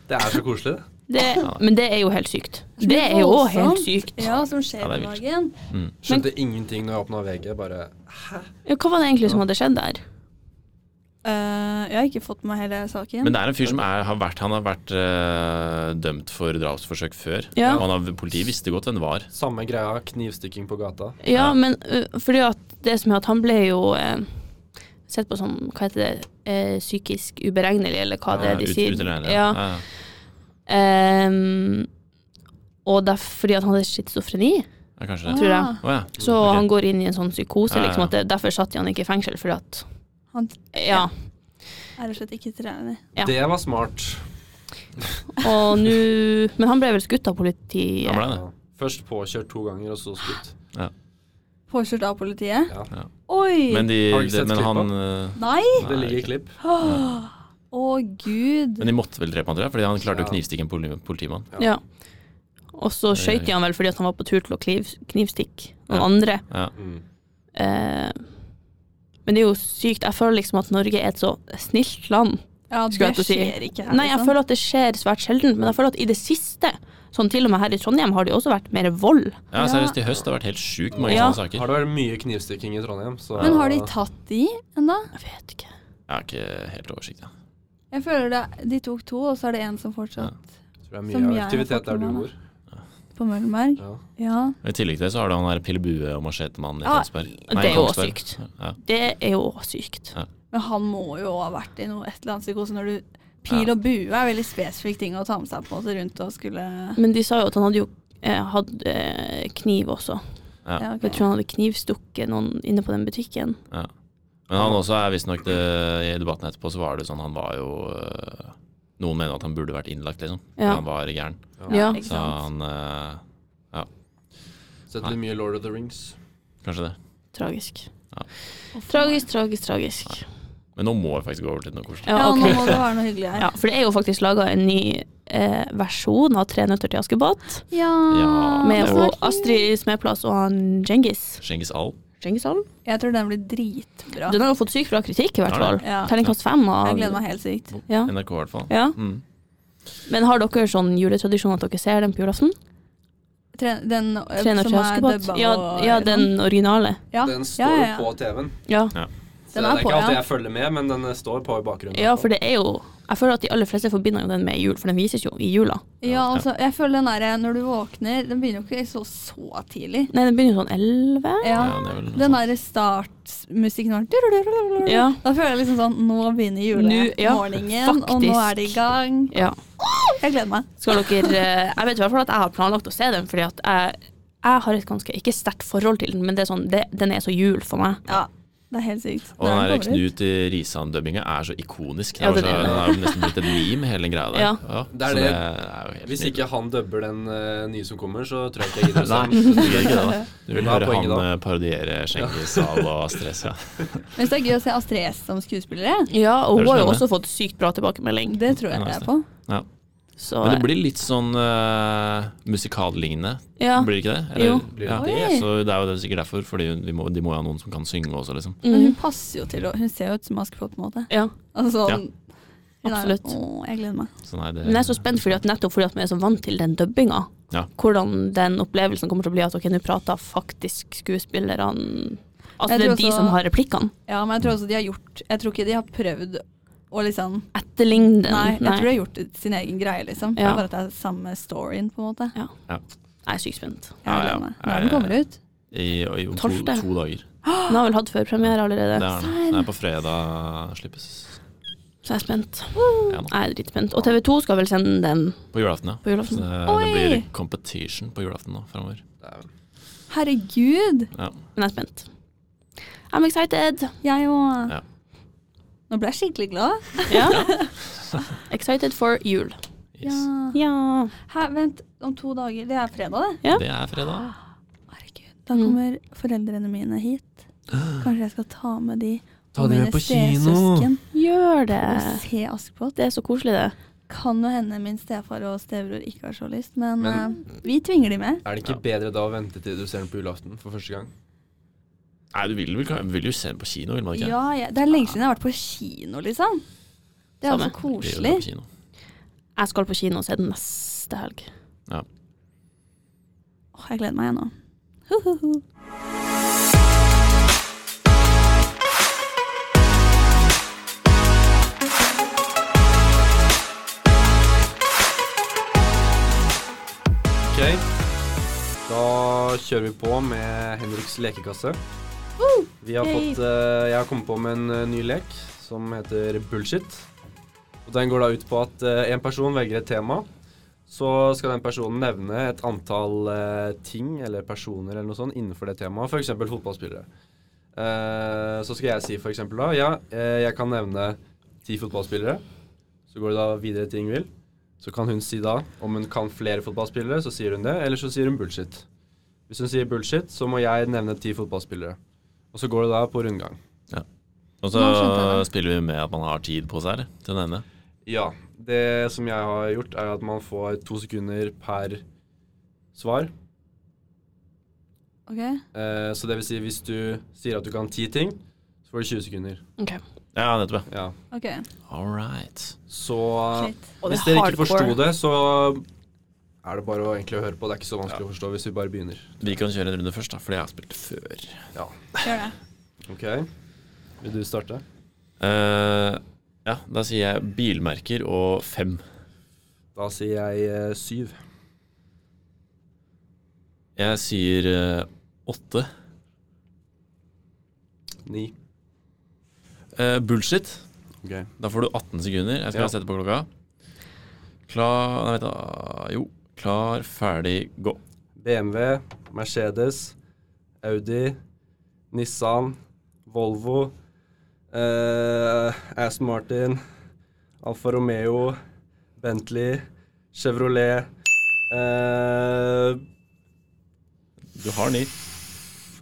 [SPEAKER 5] det er så koselig, det.
[SPEAKER 3] det Men det er jo helt sykt.
[SPEAKER 4] Så
[SPEAKER 3] Det er jo òg helt
[SPEAKER 4] voldsomt.
[SPEAKER 3] sykt.
[SPEAKER 4] Ja, som skjer
[SPEAKER 2] Ja, det er
[SPEAKER 4] på
[SPEAKER 2] vilt.
[SPEAKER 4] dagen.
[SPEAKER 2] Mm.
[SPEAKER 5] Skjønte ingenting når jeg åpna VG. Bare
[SPEAKER 3] Ja, hva var det egentlig som hadde skjedd der?
[SPEAKER 4] Eh, jeg har ikke fått med meg hele saken.
[SPEAKER 2] Men det er en fyr som er, har vært, han har vært eh, dømt for drapsforsøk før.
[SPEAKER 3] Ja.
[SPEAKER 2] Og han har, politiet visste godt hvem det var.
[SPEAKER 5] Samme greia, knivstikking på gata.
[SPEAKER 3] Ja,
[SPEAKER 2] Ja.
[SPEAKER 3] men ø, fordi at det som er at han ble jo eh, sett på som, hva heter det, eh, psykisk uberegnelig, eller hva det er de
[SPEAKER 2] Eh, ut-
[SPEAKER 3] sier.
[SPEAKER 2] uteligner,
[SPEAKER 3] ja.
[SPEAKER 2] Ja, ja.
[SPEAKER 3] Ehm, og det er fordi at han hadde schizofreni,
[SPEAKER 2] ja, kanskje det.
[SPEAKER 3] tror jeg.
[SPEAKER 4] Ah,
[SPEAKER 2] Å ja.
[SPEAKER 3] Så
[SPEAKER 2] Ok.
[SPEAKER 3] han går inn i en sånn psykose,
[SPEAKER 2] Ja, ja.
[SPEAKER 3] liksom. At det, derfor satt han ikke i fengsel, fordi at
[SPEAKER 4] Han
[SPEAKER 3] Ja.
[SPEAKER 4] er rett og slett ikke trener.
[SPEAKER 3] Ja.
[SPEAKER 5] Det var smart.
[SPEAKER 3] Og nå Men han ble vel skutt av
[SPEAKER 2] Han
[SPEAKER 3] politiet.
[SPEAKER 2] ble det.
[SPEAKER 5] Ja. Først påkjørt to ganger, og så skutt.
[SPEAKER 4] Påkjørt av politiet.
[SPEAKER 5] Ja.
[SPEAKER 4] Oi!
[SPEAKER 2] Men, de,
[SPEAKER 5] Har du ikke sett
[SPEAKER 2] men han eh,
[SPEAKER 4] Nei!
[SPEAKER 2] nei,
[SPEAKER 5] Det ligger
[SPEAKER 2] ikke.
[SPEAKER 5] i klipp.
[SPEAKER 4] Åh, Å, gud.
[SPEAKER 2] Men de måtte vel drepe han, tror jeg, fordi han klarte å
[SPEAKER 5] Ja.
[SPEAKER 2] knivstikke en poli- politimann.
[SPEAKER 3] Ja. Og så skøyt de han vel fordi at han var på tur til å kliv, knivstikke noen andre.
[SPEAKER 2] Ja.
[SPEAKER 5] Mm.
[SPEAKER 3] Eh, men det er jo sykt. Jeg føler liksom at Norge er et så snilt land.
[SPEAKER 4] Ja,
[SPEAKER 3] Skulle
[SPEAKER 4] det
[SPEAKER 3] jeg til å si.
[SPEAKER 4] skjer ikke her. liksom.
[SPEAKER 3] Nei, jeg føler at det skjer svært sjelden, men jeg føler at i det siste, sånn til og med her i Trondheim, har det jo også vært mer vold.
[SPEAKER 2] ja, seriøst, i høst har det vært helt sjukt mange
[SPEAKER 3] Ja.
[SPEAKER 2] sånne saker.
[SPEAKER 5] Har det vært mye knivstikking i Trondheim, så
[SPEAKER 4] Men har de tatt de ennå?
[SPEAKER 3] Jeg vet ikke.
[SPEAKER 2] Jeg har ikke helt oversikt. Ja.
[SPEAKER 4] Jeg føler det, de tok to, og så er det en som fortsatt
[SPEAKER 5] tror jeg er
[SPEAKER 4] Som jeg
[SPEAKER 5] mye
[SPEAKER 4] har fått
[SPEAKER 5] aktivitet der du
[SPEAKER 4] med meg.
[SPEAKER 5] bor.
[SPEAKER 4] på Møllenberg.
[SPEAKER 5] Ja.
[SPEAKER 4] Ja.
[SPEAKER 2] Og I tillegg til det så har du han der Pillebue og machete-mannen i
[SPEAKER 4] Ja,
[SPEAKER 2] Tønsberg.
[SPEAKER 3] det er jo
[SPEAKER 2] Kongsberg.
[SPEAKER 3] sykt.
[SPEAKER 2] Ja.
[SPEAKER 3] Det er jo sykt.
[SPEAKER 4] Men han må jo ha vært i noe et eller annet psykose når du Pil
[SPEAKER 2] Ja.
[SPEAKER 4] og bue er veldig spesifikk ting å ta med seg på en måte rundt og skulle
[SPEAKER 3] Men de sa jo at han hadde jo eh, hatt eh, kniv også.
[SPEAKER 2] Ja.
[SPEAKER 4] Ja, ok.
[SPEAKER 3] Jeg tror han hadde knivstukket noen inne på den butikken.
[SPEAKER 2] Men han også er visstnok det I debatten etterpå så var det sånn han var jo øh, Noen mener at han burde vært innlagt, liksom.
[SPEAKER 3] Ja.
[SPEAKER 2] Han var gæren.
[SPEAKER 3] Ja.
[SPEAKER 4] Ikke
[SPEAKER 2] Så han
[SPEAKER 4] sant?
[SPEAKER 2] øh,
[SPEAKER 5] Sett litt mye Lord of the Rings.
[SPEAKER 2] Kanskje det.
[SPEAKER 3] Tragisk.
[SPEAKER 4] Uff,
[SPEAKER 3] Tragisk, tragisk, tragisk.
[SPEAKER 2] Men nå må vi faktisk gå over til noe koselig.
[SPEAKER 4] Ja,
[SPEAKER 3] Ja, ok.
[SPEAKER 4] nå må det være noe hyggelig her.
[SPEAKER 3] Ja, for det er jo faktisk laga en ny eh, versjon av Tre nøtter til Askepott.
[SPEAKER 4] Ja,
[SPEAKER 2] Ja,
[SPEAKER 3] Med
[SPEAKER 2] det
[SPEAKER 3] hun
[SPEAKER 2] var-
[SPEAKER 3] Astrid Smeplass og han Djengis.
[SPEAKER 2] Cengiz Al.
[SPEAKER 3] Djengis Alm?
[SPEAKER 4] Jeg tror den blir dritbra.
[SPEAKER 3] Den har jo fått sykt bra kritikk, i hvert
[SPEAKER 2] Ja, da.
[SPEAKER 3] fall.
[SPEAKER 4] Ja.
[SPEAKER 3] Terningkast fem av
[SPEAKER 4] Jeg gleder meg helt sykt.
[SPEAKER 3] Ja.
[SPEAKER 2] NRK, i hvert fall.
[SPEAKER 3] ja.
[SPEAKER 2] Mm.
[SPEAKER 3] Men har dere sånn juletradisjon at dere ser den på julaften?
[SPEAKER 4] Tre- Den eh,
[SPEAKER 3] Tre nøtter
[SPEAKER 4] som
[SPEAKER 3] til
[SPEAKER 4] er
[SPEAKER 3] Askepott?
[SPEAKER 4] dubba
[SPEAKER 3] Ja,
[SPEAKER 4] og-
[SPEAKER 3] ja, den originale.
[SPEAKER 4] ja.
[SPEAKER 5] Den
[SPEAKER 4] ja,
[SPEAKER 5] står jo
[SPEAKER 4] ja, ja.
[SPEAKER 5] på TV-en.
[SPEAKER 3] Ja.
[SPEAKER 5] Så
[SPEAKER 4] Den
[SPEAKER 5] det
[SPEAKER 4] er
[SPEAKER 5] er
[SPEAKER 4] på,
[SPEAKER 5] ikke alltid
[SPEAKER 4] ja.
[SPEAKER 5] jeg følger med, men den eh, står på i bakgrunnen.
[SPEAKER 3] ja, for det er jo Jeg føler at de aller fleste forbinder jo den med jul, for den vises jo i jula.
[SPEAKER 4] Ja, altså, jeg føler den derre når du våkner Den begynner jo ikke så, så tidlig.
[SPEAKER 3] Nei, den begynner jo sånn elleve.
[SPEAKER 4] Ja.
[SPEAKER 2] Ja, det er vel noe
[SPEAKER 4] Den
[SPEAKER 2] sånt.
[SPEAKER 4] derre startmusikken var
[SPEAKER 3] Ja.
[SPEAKER 4] Da føler jeg liksom sånn Nå begynner
[SPEAKER 3] Nu- ja,
[SPEAKER 4] julemorgenen, og nå
[SPEAKER 3] faktisk.
[SPEAKER 4] er det i gang.
[SPEAKER 3] Ja.
[SPEAKER 4] Jeg gleder meg.
[SPEAKER 3] Skal dere eh, Jeg vet i hvert fall at jeg har planlagt å se den, fordi at jeg, jeg har et ganske Ikke sterkt forhold til den, men det er sånn, det, den er så jul for meg.
[SPEAKER 4] Ja, det er helt sykt.
[SPEAKER 2] Og den
[SPEAKER 4] Når
[SPEAKER 2] der
[SPEAKER 4] den kommer ut.
[SPEAKER 2] Knut i Risan-dubbinga er så ikonisk.
[SPEAKER 3] Ja,
[SPEAKER 2] Den, var
[SPEAKER 3] den er det.
[SPEAKER 2] så, den er jo nesten blitt et meme, hele den greia der.
[SPEAKER 3] Ja.
[SPEAKER 5] Det er
[SPEAKER 2] så
[SPEAKER 5] det.
[SPEAKER 2] er jo helt
[SPEAKER 5] Hvis
[SPEAKER 2] nydelig.
[SPEAKER 5] ikke han dubber den eh, nye som kommer, så tror jeg ikke jeg gidder å se
[SPEAKER 2] Nei,
[SPEAKER 5] den.
[SPEAKER 2] du gjør ikke det, da. Du vil
[SPEAKER 5] Hva er
[SPEAKER 2] høre
[SPEAKER 5] poenget
[SPEAKER 2] han
[SPEAKER 5] da?
[SPEAKER 2] eh, parodiere Cengiz Al og Stress, ja.
[SPEAKER 4] Men hvis det er gøy å se Astrid S som skuespillere,
[SPEAKER 3] Ja, og
[SPEAKER 2] Det
[SPEAKER 3] hun har
[SPEAKER 2] er
[SPEAKER 3] jo
[SPEAKER 2] spennende.
[SPEAKER 3] også fått sykt bra tilbakemelding.
[SPEAKER 4] det tror jeg
[SPEAKER 2] Ja,
[SPEAKER 4] ikke jeg er på.
[SPEAKER 3] Så
[SPEAKER 2] Men det blir litt sånn eh, musikallignende,
[SPEAKER 3] ja.
[SPEAKER 2] blir det ikke det?
[SPEAKER 3] Jo.
[SPEAKER 5] Blir
[SPEAKER 2] Ja.
[SPEAKER 5] det
[SPEAKER 4] Oi.
[SPEAKER 2] Så det er jo det sikkert derfor, for de må, de må jo ha noen som kan synge også, liksom.
[SPEAKER 4] Men
[SPEAKER 3] Mm,
[SPEAKER 4] hun passer jo til å Hun ser jo ut som Askepott, på en måte.
[SPEAKER 2] Eh.
[SPEAKER 3] ja.
[SPEAKER 4] Altså,
[SPEAKER 2] Ja.
[SPEAKER 4] hun er-
[SPEAKER 3] Absolutt.
[SPEAKER 4] Å, jeg gleder meg.
[SPEAKER 2] Så nei, det,
[SPEAKER 3] Men jeg er så spent fordi at nettopp fordi at vi er så vant til den dubbinga.
[SPEAKER 2] Ja.
[SPEAKER 3] Hvordan den opplevelsen kommer til å bli at ok, nå prater faktisk skuespillerne Altså
[SPEAKER 4] Jeg
[SPEAKER 3] det er
[SPEAKER 4] tror
[SPEAKER 3] de
[SPEAKER 4] også-
[SPEAKER 3] som har replikkene.
[SPEAKER 4] Ja, men jeg tror også de har gjort Jeg tror ikke de har prøvd å liksom
[SPEAKER 3] Etterligne den.
[SPEAKER 4] Nei, jeg tror de har gjort sin egen greie, liksom.
[SPEAKER 3] Ja.
[SPEAKER 4] Bare at det er samme storyen, på en måte.
[SPEAKER 3] jeg er sykt spent.
[SPEAKER 4] Jeg
[SPEAKER 2] Ja, ja.
[SPEAKER 4] gleder meg. Når den kommer ut?
[SPEAKER 2] I, i, om to,
[SPEAKER 3] Tolvte.
[SPEAKER 2] to dager.
[SPEAKER 3] Den har vel hatt førpremiere allerede,
[SPEAKER 2] Det er den. Den er på fredag slippes.
[SPEAKER 3] så jeg er spent.
[SPEAKER 2] Ja, da.
[SPEAKER 3] Jeg er dritspent. Og TV 2 skal vel sende den
[SPEAKER 2] På julaften, ja.
[SPEAKER 3] på
[SPEAKER 2] Så
[SPEAKER 3] julaften.
[SPEAKER 2] det, det
[SPEAKER 4] Oi!
[SPEAKER 2] blir competition på julaften nå framover.
[SPEAKER 5] Dæven.
[SPEAKER 4] Herregud!
[SPEAKER 2] Ja.
[SPEAKER 3] Men jeg er spent. I'm excited.
[SPEAKER 4] Jeg òg.
[SPEAKER 2] Ja.
[SPEAKER 4] Nå ble jeg skikkelig glad.
[SPEAKER 3] Ja. excited for jul.
[SPEAKER 2] Yes.
[SPEAKER 3] Ja.
[SPEAKER 4] Hæ, vent, om to dager Det er fredag, det.
[SPEAKER 3] Ja.
[SPEAKER 2] Det er fredag.
[SPEAKER 4] Herregud. Da kommer foreldrene mine hit. Kanskje jeg skal ta med de
[SPEAKER 5] Ta
[SPEAKER 4] og
[SPEAKER 5] de med
[SPEAKER 4] mine
[SPEAKER 5] på kino.
[SPEAKER 4] stesøsken
[SPEAKER 3] Gjør det.
[SPEAKER 4] og se Askepott.
[SPEAKER 3] Det er så koselig, det.
[SPEAKER 4] Kan jo hende min stefar og stebror ikke har så lyst, men,
[SPEAKER 5] Men-
[SPEAKER 4] eh, vi tvinger de med.
[SPEAKER 5] Er det ikke bedre da å vente til du ser den på julaften for første gang?
[SPEAKER 2] Nei, du vil, vel- vil jo se den på kino, vil man ikke?
[SPEAKER 4] Ja, jeg, Det er lenge siden jeg har vært på kino, liksom. Det er
[SPEAKER 3] Samme.
[SPEAKER 4] altså
[SPEAKER 2] Vi gjør det
[SPEAKER 4] koselig.
[SPEAKER 2] på kino.
[SPEAKER 3] Jeg skal på kino og se den neste helg.
[SPEAKER 4] Åh, jeg gleder meg, jeg nå.
[SPEAKER 5] kjører vi på med Henriks lekekasse. Vi har
[SPEAKER 3] Yay.
[SPEAKER 5] fått, eh, jeg har kommet på med en eh, ny lek som heter Bullshit. Og den går da ut på at eh, en person velger et tema. Så skal den personen nevne et antall eh, ting eller personer eller noe sånt innenfor det temaet, f.eks. fotballspillere. Eh, så skal jeg si f.eks. da ja, eh, jeg kan nevne ti fotballspillere. Så går det da videre til Ingvild. Så kan hun si da om hun kan flere fotballspillere, så sier hun det, eller så sier hun bullshit. Hvis hun sier bullshit, så må jeg nevne ti fotballspillere. Og så går det da på rundgang.
[SPEAKER 2] Og
[SPEAKER 4] Nå skjønte
[SPEAKER 2] så
[SPEAKER 4] jeg
[SPEAKER 2] spiller vi med at man har tid på seg her, til den ene.
[SPEAKER 5] Ja. Det som jeg har gjort, er at man får to sekunder per svar.
[SPEAKER 4] Ok?
[SPEAKER 5] Eh, så det vil si, hvis du sier at du kan ti ting, så får du 20 sekunder.
[SPEAKER 3] Ok.
[SPEAKER 2] Ja, nettopp. ja.
[SPEAKER 5] Ja.
[SPEAKER 4] Ok.
[SPEAKER 2] All right.
[SPEAKER 5] Så
[SPEAKER 4] Shit.
[SPEAKER 3] Og det
[SPEAKER 5] hvis
[SPEAKER 3] er
[SPEAKER 5] dere ikke
[SPEAKER 3] hardcore.
[SPEAKER 5] forsto det, så er det bare å egentlig høre på. Det er ikke så vanskelig å forstå hvis vi bare begynner.
[SPEAKER 2] Vi kan kjøre en runde først, da, fordi jeg har spilt det før.
[SPEAKER 4] Gjør det.
[SPEAKER 5] Ok? Vil du starte?
[SPEAKER 2] Eh, ja, da sier jeg bilmerker og fem.
[SPEAKER 5] Da sier jeg eh, syv.
[SPEAKER 2] Jeg sier eh, åtte.
[SPEAKER 5] Ni.
[SPEAKER 2] Eh, bullshit.
[SPEAKER 5] Ok.
[SPEAKER 2] Da får du 18 sekunder. Jeg skal
[SPEAKER 5] Ja.
[SPEAKER 2] sette på klokka. Klar Nei, vent, da. Jo. Klar, ferdig, gå.
[SPEAKER 5] BMW, Mercedes, Audi, Nissan, Volvo, eh, Aston Martin, Alfa Romeo, Bentley, Chevrolet eh,
[SPEAKER 2] Du har ni.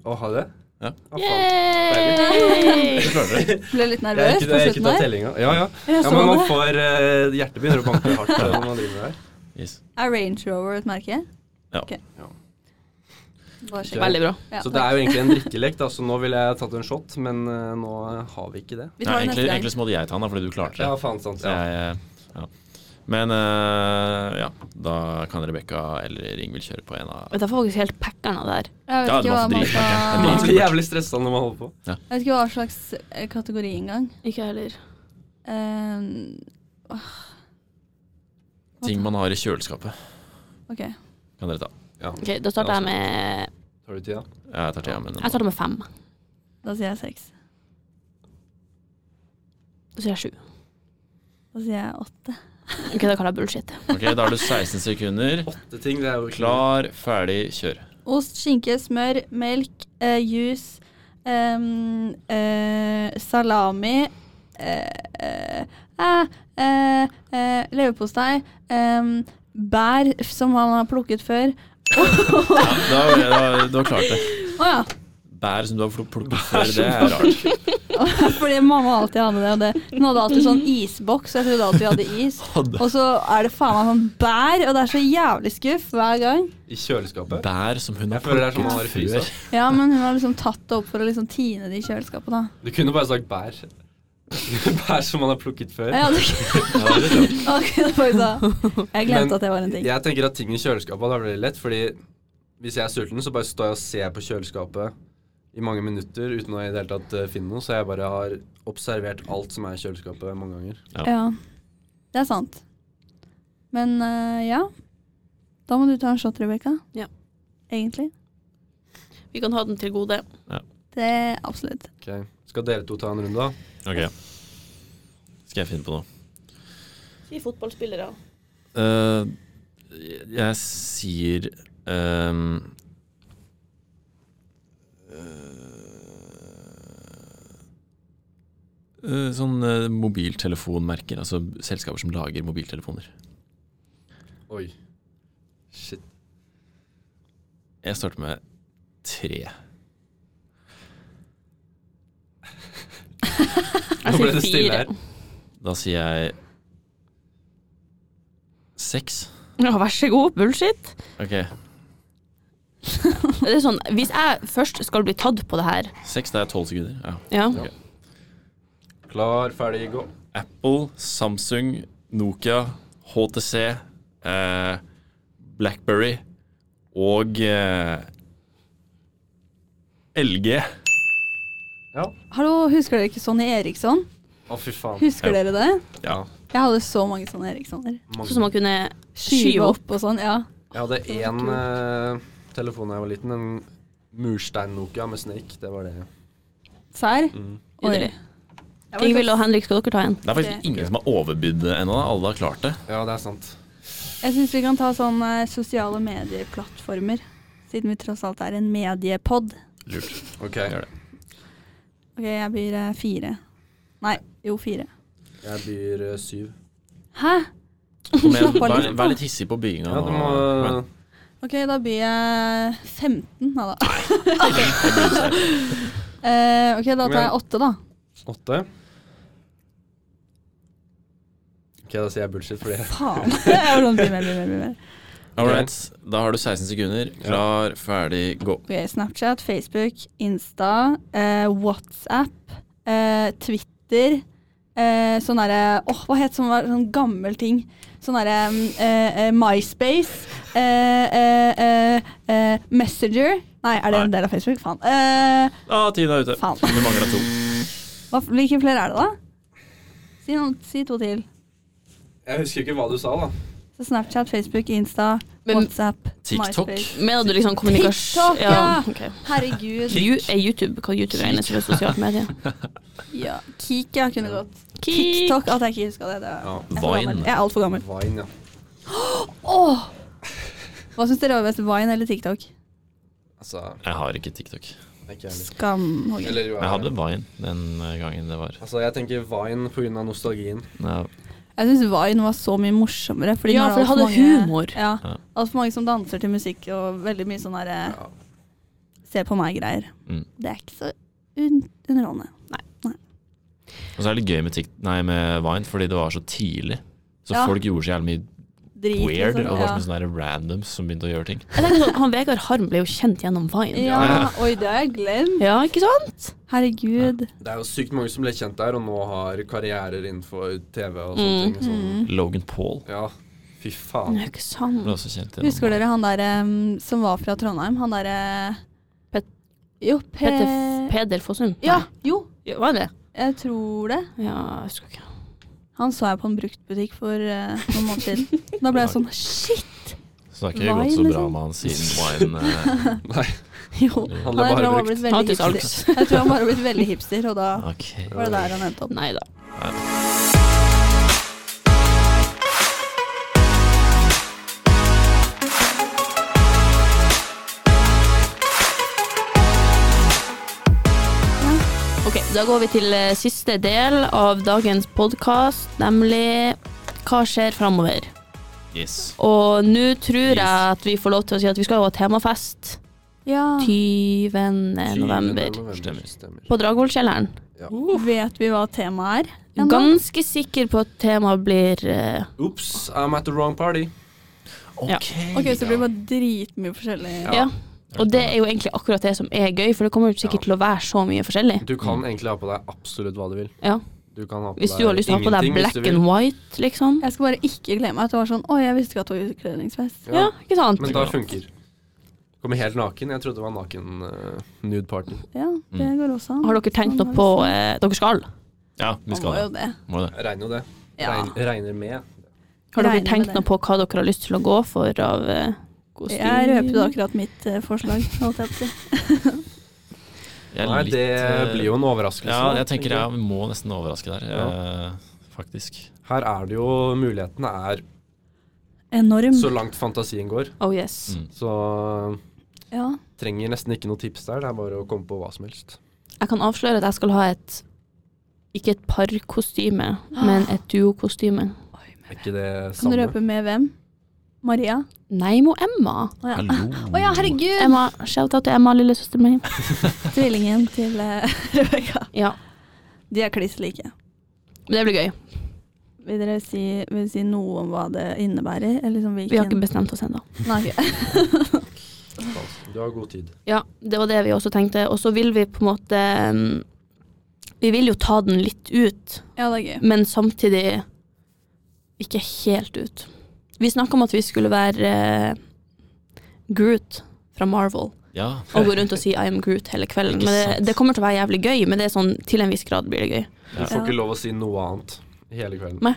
[SPEAKER 5] Å, har jeg det?
[SPEAKER 2] Ja.
[SPEAKER 5] Å, faen.
[SPEAKER 3] Yay!
[SPEAKER 2] Du klarer det.
[SPEAKER 4] Ble litt nervøs på
[SPEAKER 5] Jeg har ikke, jeg har ikke
[SPEAKER 4] slutten
[SPEAKER 5] tatt
[SPEAKER 4] her.
[SPEAKER 5] tellinga. Ja, ja.
[SPEAKER 4] Jeg
[SPEAKER 5] ja
[SPEAKER 4] så
[SPEAKER 5] men man
[SPEAKER 4] det.
[SPEAKER 5] får eh, Hjertet begynner å banke hardt eh, når man driver med det her.
[SPEAKER 2] Yes.
[SPEAKER 4] Er Range Rover et merke?
[SPEAKER 2] Ja.
[SPEAKER 4] Ok.
[SPEAKER 5] Ja.
[SPEAKER 4] Bare sjekk.
[SPEAKER 3] Veldig bra.
[SPEAKER 4] Ja,
[SPEAKER 5] Så det er jo egentlig en drikkelek, da, så nå ville jeg tatt en shot, men eh, nå har vi ikke det.
[SPEAKER 2] Nei,
[SPEAKER 4] Vi tar det
[SPEAKER 2] egentlig,
[SPEAKER 4] neste gang.
[SPEAKER 2] egentlig så måtte jeg ta den, da, fordi du klarte det.
[SPEAKER 5] Ja, faen sant.
[SPEAKER 2] Så
[SPEAKER 5] Ja.
[SPEAKER 2] jeg, eh, ja. Men eh, ja, da kan Rebekka eller Ingvild kjøre på en av
[SPEAKER 3] Vet du, Jeg får faktisk helt packeren av det her.
[SPEAKER 4] Jeg
[SPEAKER 2] Ja,
[SPEAKER 4] vet
[SPEAKER 2] det var
[SPEAKER 4] ikke hva
[SPEAKER 2] for
[SPEAKER 4] man
[SPEAKER 2] drit, merker jeg.
[SPEAKER 5] Man
[SPEAKER 2] Det
[SPEAKER 4] skal
[SPEAKER 2] er
[SPEAKER 5] blir jævlig stressa når man holder på.
[SPEAKER 4] Jeg vet ikke hva slags eh, kategori engang.
[SPEAKER 3] Ikke jeg heller.
[SPEAKER 4] Um,
[SPEAKER 2] ting man har i kjøleskapet.
[SPEAKER 4] ok.
[SPEAKER 2] Kan dere ta.
[SPEAKER 3] Ok, Da starter jeg med
[SPEAKER 5] Tar du tida?
[SPEAKER 2] Jeg tar tida, men
[SPEAKER 3] Jeg starter med fem.
[SPEAKER 4] Da sier jeg seks.
[SPEAKER 3] Så sier jeg sju.
[SPEAKER 4] Da sier jeg åtte.
[SPEAKER 3] Ok, da kaller jeg bullshit.
[SPEAKER 2] Ok, da har du 16 sekunder.
[SPEAKER 5] Åtte ting, det er jo klart.
[SPEAKER 2] Klar, ferdig, kjør.
[SPEAKER 4] Ost, skinke, smør, melk, eh, juice, em, eh, salami eh, eh, eh, eh, eh, Leverpostei. em, bær f- som han har plukket før.
[SPEAKER 2] Ja, da, da, du har klart det.
[SPEAKER 4] Å ja!
[SPEAKER 2] Bær som du har pluk- plukket før, det er rart.
[SPEAKER 4] Fordi mamma alltid hadde det. Og det. Hun hadde alltid sånn isboks, og jeg trodde alltid vi hadde is. Og så er det faen meg sånn bær, og det er så jævlig skuff hver gang.
[SPEAKER 5] I kjøleskapet?
[SPEAKER 2] Bær som hun har
[SPEAKER 5] Jeg føler det er som man har i
[SPEAKER 2] plukket
[SPEAKER 5] frysa.
[SPEAKER 2] før.
[SPEAKER 4] Ja, men hun har liksom tatt det opp for å liksom tine det i kjøleskapet, da.
[SPEAKER 5] Du kunne bare sagt bær. bær som man har plukket før.
[SPEAKER 4] Jeg hadde ikke
[SPEAKER 2] Ja, det er sant.
[SPEAKER 4] Ok, det var jo da. Jeg glemte
[SPEAKER 5] Men
[SPEAKER 4] at det var en ting.
[SPEAKER 5] Jeg tenker at ting i kjøleskapet da blir det lett, fordi hvis jeg er sulten, så bare står jeg og ser på kjøleskapet i mange minutter uten å i det hele tatt eh, finne noe, så jeg bare har observert alt som er i kjøleskapet mange ganger.
[SPEAKER 4] Ja, det er sant. Men eh, ja. Da må du ta en shot, Rebekka.
[SPEAKER 3] Ja.
[SPEAKER 4] Egentlig.
[SPEAKER 3] Vi kan ha den til gode.
[SPEAKER 4] Det er absolutt.
[SPEAKER 5] Ok. Skal dere to ta en runde, da?
[SPEAKER 2] Ok. Skal jeg finne på noe?
[SPEAKER 3] Si fotballspillere.
[SPEAKER 2] Eh, jeg- jeg sier ehm, eh, eh, Sånn eh, mobiltelefonmerker, altså selskaper som lager mobiltelefoner.
[SPEAKER 5] Oi. Shit.
[SPEAKER 2] Jeg starter med tre.
[SPEAKER 5] Nå
[SPEAKER 3] Jeg
[SPEAKER 5] ble det
[SPEAKER 3] sier
[SPEAKER 5] stille
[SPEAKER 3] fire.
[SPEAKER 5] her.
[SPEAKER 2] Da sier jeg seks.
[SPEAKER 3] Ja, vær så god. Bullshit.
[SPEAKER 2] Ok,
[SPEAKER 3] Det er sånn, hvis jeg først skal bli tatt på det her
[SPEAKER 2] seks det er tolv sekunder. Ja.
[SPEAKER 3] ja.
[SPEAKER 5] Klar, ferdig, gå.
[SPEAKER 2] Apple, Samsung, Nokia, HTC, eh, Blackberry og eh, LG.
[SPEAKER 5] Ja.
[SPEAKER 4] Hallo, husker dere ikke Sonny Eriksson?
[SPEAKER 5] Å, fy faen.
[SPEAKER 4] Husker
[SPEAKER 2] Ja.
[SPEAKER 4] dere det?
[SPEAKER 2] Ja.
[SPEAKER 4] Jeg hadde så mange Sonny Erikssoner.
[SPEAKER 5] Mange.
[SPEAKER 3] Sånn som man kunne
[SPEAKER 4] Skyve opp og sånn. Ja.
[SPEAKER 5] Jeg hadde én eh, telefon da jeg var liten. En murstein-Nokia med Snake. Det var det.
[SPEAKER 4] Serr?
[SPEAKER 5] Mm.
[SPEAKER 4] Oi.
[SPEAKER 3] Ingvild og Henrik, skal dere ta en?
[SPEAKER 2] Det er faktisk
[SPEAKER 4] Det-
[SPEAKER 2] ingen som har overbydd ennå. da. Alle har klart det.
[SPEAKER 5] Ja, det er sant.
[SPEAKER 4] Jeg syns vi kan ta sånne sosiale medieplattformer, siden vi tross alt er en mediepod.
[SPEAKER 2] Lurt.
[SPEAKER 5] Ok,
[SPEAKER 2] Gjør det.
[SPEAKER 4] Ok, jeg blir eh, fire. Nei, jo, fire.
[SPEAKER 5] jeg byr eh, syv.
[SPEAKER 4] Hæ?
[SPEAKER 2] Kom igjen,
[SPEAKER 4] Slapp av
[SPEAKER 2] vær,
[SPEAKER 4] litt, da.
[SPEAKER 2] vær litt hissig på bygginga.
[SPEAKER 5] Ja, du må
[SPEAKER 2] nå.
[SPEAKER 4] Ok, da blir jeg 15, da. da. Eh, ok, da tar jeg åtte, da.
[SPEAKER 5] Åtte. Ok, da sier jeg bullshit, fordi
[SPEAKER 4] Faen. Jeg var sånn, bli mer, bli mer, bli mer.
[SPEAKER 2] All right, da har du 16 sekunder. Klar, ferdig, gå.
[SPEAKER 4] Ok, Snapchat, Facebook, Insta, eh, WhatsApp, eh, Twitter. Eh, sånn derre Åh, hva het sånn, var- sånn gammel ting? Sånn derre mm, eh, eh, MySpace. Eh, eh, eh, eh, Messenger. Nei, er det en
[SPEAKER 2] Nei.
[SPEAKER 4] del av Facebook? Faen. Eh,
[SPEAKER 2] Ah, tiden er ute.
[SPEAKER 4] Faen.
[SPEAKER 2] Du mangler to.
[SPEAKER 4] hva, hvilke flere er det, da? Si, noen, si to til.
[SPEAKER 5] Jeg husker ikke hva du sa, da.
[SPEAKER 4] Så Snapchat, Facebook, Insta,
[SPEAKER 3] Men-
[SPEAKER 4] WhatsApp,
[SPEAKER 2] TikTok?
[SPEAKER 4] MySpace.
[SPEAKER 3] Mener du liksom kommunikasjon
[SPEAKER 4] TikTok, ja.
[SPEAKER 3] ok.
[SPEAKER 4] Herregud.
[SPEAKER 3] Ju- Er YouTube kan YouTube regnes som et sosialt medie?
[SPEAKER 4] Ja. Kik, ja, kunne gått. TikTok, at jeg ikke huska det. det er,
[SPEAKER 5] Ja.
[SPEAKER 4] jeg er for
[SPEAKER 2] Vine.
[SPEAKER 4] gammel. Jeg er altfor gammel.
[SPEAKER 5] Vine, ja.
[SPEAKER 4] Åh! Hva syns dere var best, Vine eller TikTok?
[SPEAKER 5] Altså,
[SPEAKER 2] Jeg har ikke TikTok.
[SPEAKER 5] ikke jeg heller.
[SPEAKER 4] Skamhogger.
[SPEAKER 5] Eller jo,
[SPEAKER 2] Jeg
[SPEAKER 5] jeg
[SPEAKER 2] hadde Vine den gangen det var.
[SPEAKER 5] Altså, jeg tenker Vine pga. nostalgien.
[SPEAKER 2] Ja,
[SPEAKER 4] Jeg syns Vine var så mye morsommere. Fordi
[SPEAKER 3] Ja,
[SPEAKER 4] nå
[SPEAKER 3] for
[SPEAKER 4] er
[SPEAKER 3] det hadde
[SPEAKER 4] altfor mange-
[SPEAKER 3] humor.
[SPEAKER 4] Ja,
[SPEAKER 2] Ja.
[SPEAKER 4] Altfor mange som danser til musikk og veldig mye sånn derre
[SPEAKER 5] Ja.
[SPEAKER 4] se på meg-greier.
[SPEAKER 2] Mm.
[SPEAKER 4] Det er ikke så un underholdende.
[SPEAKER 2] Og så er det litt gøy med, Tik- nei, med Vine, fordi det var så tidlig. Så
[SPEAKER 4] Ja.
[SPEAKER 2] folk gjorde så jævlig mye
[SPEAKER 4] Drit,
[SPEAKER 2] weird,
[SPEAKER 4] liksom.
[SPEAKER 2] og var
[SPEAKER 4] ja.
[SPEAKER 2] som sånne der randoms som begynte å gjøre ting.
[SPEAKER 3] Jeg tenker sånn, han Vegard Harm ble jo kjent gjennom Vine.
[SPEAKER 4] ja, oi, det har jeg glemt.
[SPEAKER 3] Ja, ikke sant?
[SPEAKER 4] Herregud.
[SPEAKER 5] Det er jo sykt mange som ble kjent der, og nå har karrierer innenfor TV og
[SPEAKER 4] Mm,
[SPEAKER 5] sånne ting. Sånn.
[SPEAKER 2] Logan Paul
[SPEAKER 5] Ja, fy faen.
[SPEAKER 3] Nei, ikke sant.
[SPEAKER 2] ble også kjent gjennom
[SPEAKER 4] Husker dere han der em, som var fra Trondheim? Han derre
[SPEAKER 3] Pet-
[SPEAKER 4] Jo, Pe...
[SPEAKER 3] Petter F- Peder Fossum?
[SPEAKER 4] Eh, Ja, jo.
[SPEAKER 3] Ja, Var det det?
[SPEAKER 4] Jeg tror det.
[SPEAKER 3] Ja, jeg husker ikke.
[SPEAKER 4] Han så jeg på en bruktbutikk for eh, noen måneder siden. Da ble jeg sånn shit!
[SPEAKER 2] Vine. Så det har ikke gått så
[SPEAKER 4] Vine,
[SPEAKER 2] bra
[SPEAKER 4] liksom.
[SPEAKER 2] med han siden Vine eh,
[SPEAKER 5] Nei,
[SPEAKER 4] Jo.
[SPEAKER 5] han
[SPEAKER 4] Han jeg tror
[SPEAKER 5] ble bare
[SPEAKER 4] han var
[SPEAKER 5] brukt.
[SPEAKER 4] blitt
[SPEAKER 3] Han
[SPEAKER 4] veldig
[SPEAKER 3] hadde ikke
[SPEAKER 4] hipster. Jeg tror han bare har blitt veldig hipster, og da
[SPEAKER 2] Ok.
[SPEAKER 4] var det der han endte opp.
[SPEAKER 3] Nei da. Ok, da går vi til eh, siste del av dagens podkast, nemlig hva skjer framover.
[SPEAKER 2] Yes.
[SPEAKER 3] Og nå tror
[SPEAKER 2] Yes.
[SPEAKER 3] jeg at vi får lov til å si at vi skal jo ha temafest
[SPEAKER 4] Ja.
[SPEAKER 3] 20. november
[SPEAKER 5] Syvende
[SPEAKER 2] Stemmer.
[SPEAKER 5] Stemmer.
[SPEAKER 3] på Dragvollkjelleren.
[SPEAKER 4] Vet vi hva temaet er? ennå?
[SPEAKER 3] Ganske sikker på at temaet blir eh,
[SPEAKER 5] Ops, I'm at the wrong party.
[SPEAKER 2] Ok.
[SPEAKER 4] Ok, så det blir bare dritmye forskjellig.
[SPEAKER 3] ja. Og det er jo egentlig akkurat det som er gøy, for det kommer jo sikkert til å være så mye forskjellig.
[SPEAKER 5] Du kan egentlig ha på deg absolutt hva du vil.
[SPEAKER 3] Ja.
[SPEAKER 5] Du kan ha på
[SPEAKER 3] Hvis
[SPEAKER 5] deg
[SPEAKER 3] du har lyst til å ha på deg
[SPEAKER 5] ingenting
[SPEAKER 3] black
[SPEAKER 5] hvis du vil.
[SPEAKER 3] and white, liksom.
[SPEAKER 4] Jeg skal bare ikke glemme at det var sånn Å, jeg visste ikke at det var utkledningsfest.
[SPEAKER 3] Ja, ikke sant?
[SPEAKER 5] Men da funker. Kommer helt naken. Jeg trodde det var naken eh, nude party.
[SPEAKER 4] Ja, det går også an.
[SPEAKER 3] Har dere tenkt noe på eh, Dere skal?
[SPEAKER 2] Ja, vi
[SPEAKER 4] Man
[SPEAKER 2] skal
[SPEAKER 4] må jo
[SPEAKER 2] det.
[SPEAKER 4] det.
[SPEAKER 2] Må det.
[SPEAKER 5] Jeg regner jo det.
[SPEAKER 4] Ja.
[SPEAKER 5] Regn, regner med.
[SPEAKER 3] Har dere
[SPEAKER 4] Regner med
[SPEAKER 3] tenkt
[SPEAKER 4] det.
[SPEAKER 3] noe på hva dere har lyst til å gå for av eh, kostyme?
[SPEAKER 4] Jeg røpet akkurat mitt eh, forslag, holdt jeg på å si.
[SPEAKER 2] Jeg er
[SPEAKER 5] Nei,
[SPEAKER 2] litt,
[SPEAKER 5] det
[SPEAKER 2] eh,
[SPEAKER 5] blir jo en overraskelse.
[SPEAKER 2] Ja,
[SPEAKER 5] da,
[SPEAKER 2] jeg tenker ja, vi må nesten overraske der,
[SPEAKER 5] Ja.
[SPEAKER 2] eh, faktisk.
[SPEAKER 5] Her er det jo Mulighetene er
[SPEAKER 4] Enorm.
[SPEAKER 5] så langt fantasien går.
[SPEAKER 3] Oh yes.
[SPEAKER 2] Mm.
[SPEAKER 5] Så
[SPEAKER 4] Ja.
[SPEAKER 5] trenger nesten ikke noe tips der. Det er bare å komme på hva som helst.
[SPEAKER 3] Jeg kan avsløre at jeg skal ha et Ikke et parkostyme, men et duokostyme.
[SPEAKER 5] Er ikke det
[SPEAKER 4] Kan du
[SPEAKER 5] samme?
[SPEAKER 4] røpe med hvem? Maria?
[SPEAKER 3] Nei, må Emma.
[SPEAKER 4] Å ja.
[SPEAKER 2] Hallo.
[SPEAKER 4] Å ja, herregud!
[SPEAKER 3] Emma, Shout-out til Emma, lillesøsteren min.
[SPEAKER 4] Tvillingen til eh, Rebekka.
[SPEAKER 3] Ja,
[SPEAKER 4] De er kliss like.
[SPEAKER 3] men Det blir gøy.
[SPEAKER 4] Vil dere si, vil dere si noe om hva det innebærer? Eller liksom hvilken
[SPEAKER 3] Vi har ikke bestemt oss ennå.
[SPEAKER 4] Nei, ok.
[SPEAKER 5] Du har god tid.
[SPEAKER 3] Ja, det var det vi også tenkte. Og så vil vi på en måte mm, Vi vil jo ta den litt ut,
[SPEAKER 4] Ja, det er gøy.
[SPEAKER 3] men samtidig ikke helt ut. Vi snakka om at vi skulle være eh, Groot fra Marvel
[SPEAKER 2] Ja.
[SPEAKER 3] og gå rundt og si I am Groot hele kvelden.
[SPEAKER 2] Ikke
[SPEAKER 3] Men det,
[SPEAKER 2] sant.
[SPEAKER 3] det kommer til å være jævlig gøy, men det er sånn, til en viss grad blir det gøy.
[SPEAKER 5] Du får ikke lov å si noe annet hele kvelden.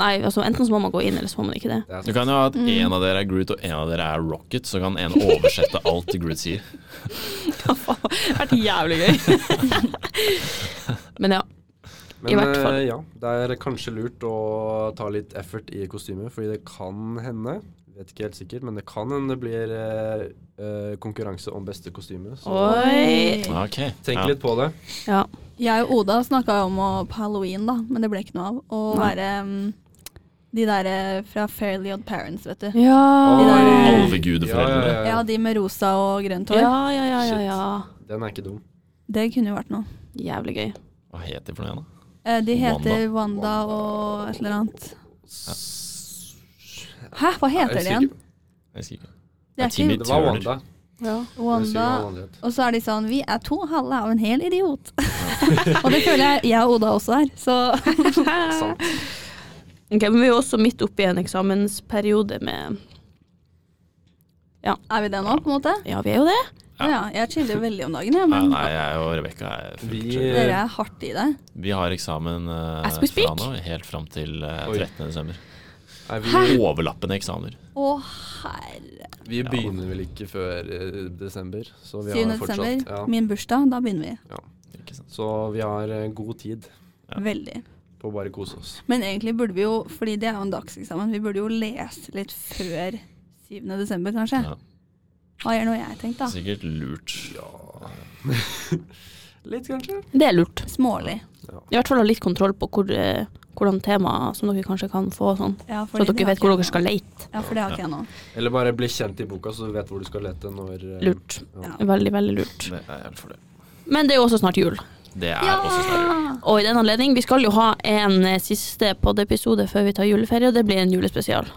[SPEAKER 3] Nei, altså enten så må man gå inn, eller så må man ikke det.
[SPEAKER 5] Det er
[SPEAKER 2] Du
[SPEAKER 5] sant.
[SPEAKER 2] kan jo ha at
[SPEAKER 4] Mm.
[SPEAKER 2] en av dere er Groot og en av dere er Rocket, så kan en oversette alt til Groot sier.
[SPEAKER 3] Det har vært jævlig gøy. Men ja.
[SPEAKER 5] Men
[SPEAKER 3] i hvert fall.
[SPEAKER 5] eh, ja, det er kanskje lurt å ta litt effort i kostymet, fordi det kan hende, vet ikke helt sikkert, men det kan hende det blir eh, eh, konkurranse om beste kostyme. Så
[SPEAKER 3] Oi.
[SPEAKER 2] Ok.
[SPEAKER 5] tenk
[SPEAKER 2] ja.
[SPEAKER 5] litt på det.
[SPEAKER 3] Ja.
[SPEAKER 4] Jeg og Oda snakka om å, på halloween, da, men det ble ikke noe av. Å
[SPEAKER 3] Nei.
[SPEAKER 4] være mm, de derre fra Fairly Odd Parents, vet du.
[SPEAKER 3] Ja.
[SPEAKER 4] Oi.
[SPEAKER 2] Alvegudeforeldre.
[SPEAKER 5] Ja, ja,
[SPEAKER 4] Ja,
[SPEAKER 5] ja.
[SPEAKER 4] de med rosa og grønt hår.
[SPEAKER 3] Ja, ja, ja, ja, ja.
[SPEAKER 5] Den er ikke dum.
[SPEAKER 4] Det kunne jo vært noe.
[SPEAKER 3] Jævlig gøy.
[SPEAKER 2] Hva heter de for noe igjen, da?
[SPEAKER 4] Eh, De heter Wanda og et eller annet. Hæ, hva heter
[SPEAKER 5] Jeg
[SPEAKER 4] de
[SPEAKER 5] husker
[SPEAKER 4] igjen?
[SPEAKER 5] ikke.
[SPEAKER 2] Jeg husker ikke.
[SPEAKER 4] Det er
[SPEAKER 2] Timmy
[SPEAKER 4] ikke
[SPEAKER 5] Det var
[SPEAKER 2] Turner.
[SPEAKER 5] Wanda.
[SPEAKER 3] Ja.
[SPEAKER 5] Jeg husker ikke
[SPEAKER 4] Wanda.
[SPEAKER 5] hva Wanda het.
[SPEAKER 4] Og så er de sånn Vi er to halve av en hel idiot. og det føler jeg jeg og Oda også er. Så
[SPEAKER 5] Sant.
[SPEAKER 3] Ok, men vi er jo også midt oppe i en eksamensperiode med
[SPEAKER 4] er vi det nå, på en måte?
[SPEAKER 3] Ja, vi er jo det.
[SPEAKER 2] Ja.
[SPEAKER 4] Ja, jeg chiller jo veldig om dagen, jeg.
[SPEAKER 2] Nei,
[SPEAKER 4] Men
[SPEAKER 2] nei, jeg og Rebekka er fullt
[SPEAKER 5] Vi- eh,
[SPEAKER 2] kjørt.
[SPEAKER 4] dere er hardt i det.
[SPEAKER 2] Vi har eksamen eh,
[SPEAKER 3] As we
[SPEAKER 2] fra
[SPEAKER 3] speak.
[SPEAKER 2] nå, helt fram til eh,
[SPEAKER 5] Oi.
[SPEAKER 2] 13. desember.
[SPEAKER 5] Nei, vi,
[SPEAKER 2] Overlappende eksamener.
[SPEAKER 4] Å, herre
[SPEAKER 5] vi begynner vel ikke før eh, desember, så
[SPEAKER 4] 7.
[SPEAKER 5] vi har
[SPEAKER 4] desember,
[SPEAKER 5] fortsatt ja.
[SPEAKER 4] min bursdag. Da begynner vi.
[SPEAKER 2] Ikke sant?
[SPEAKER 5] Så vi har eh, god tid
[SPEAKER 2] Ja.
[SPEAKER 4] Veldig.
[SPEAKER 5] på å bare kose oss.
[SPEAKER 4] Men egentlig burde vi jo, fordi det er jo en dagseksamen, vi burde jo lese litt før 7. desember, kanskje.
[SPEAKER 2] Ja.
[SPEAKER 4] Hva gjør nå jeg tenkt, da?
[SPEAKER 2] Sikkert lurt.
[SPEAKER 5] Litt, kanskje.
[SPEAKER 3] Det er lurt.
[SPEAKER 4] Smålig.
[SPEAKER 3] I hvert fall ha litt kontroll på hvor, eh, hvordan temaer som dere kanskje kan få, sånn.
[SPEAKER 4] Ja,
[SPEAKER 3] så
[SPEAKER 4] fordi
[SPEAKER 3] at
[SPEAKER 4] det
[SPEAKER 3] dere
[SPEAKER 4] har
[SPEAKER 3] vet hvor
[SPEAKER 4] ikke
[SPEAKER 3] dere
[SPEAKER 4] jeg nå.
[SPEAKER 3] skal leite.
[SPEAKER 4] Ja, for det har ikke jeg nå.
[SPEAKER 5] Eller bare bli kjent i boka, så du vet hvor du skal lete når eh,
[SPEAKER 3] Lurt.
[SPEAKER 5] Ja.
[SPEAKER 3] Veldig, veldig lurt.
[SPEAKER 2] Det er helt for det.
[SPEAKER 3] Men det er jo også snart jul.
[SPEAKER 2] Det er også snart jul.
[SPEAKER 3] Og i den anledning, vi skal jo ha en eh, siste poddepisode før vi tar juleferie, og det blir en julespesial.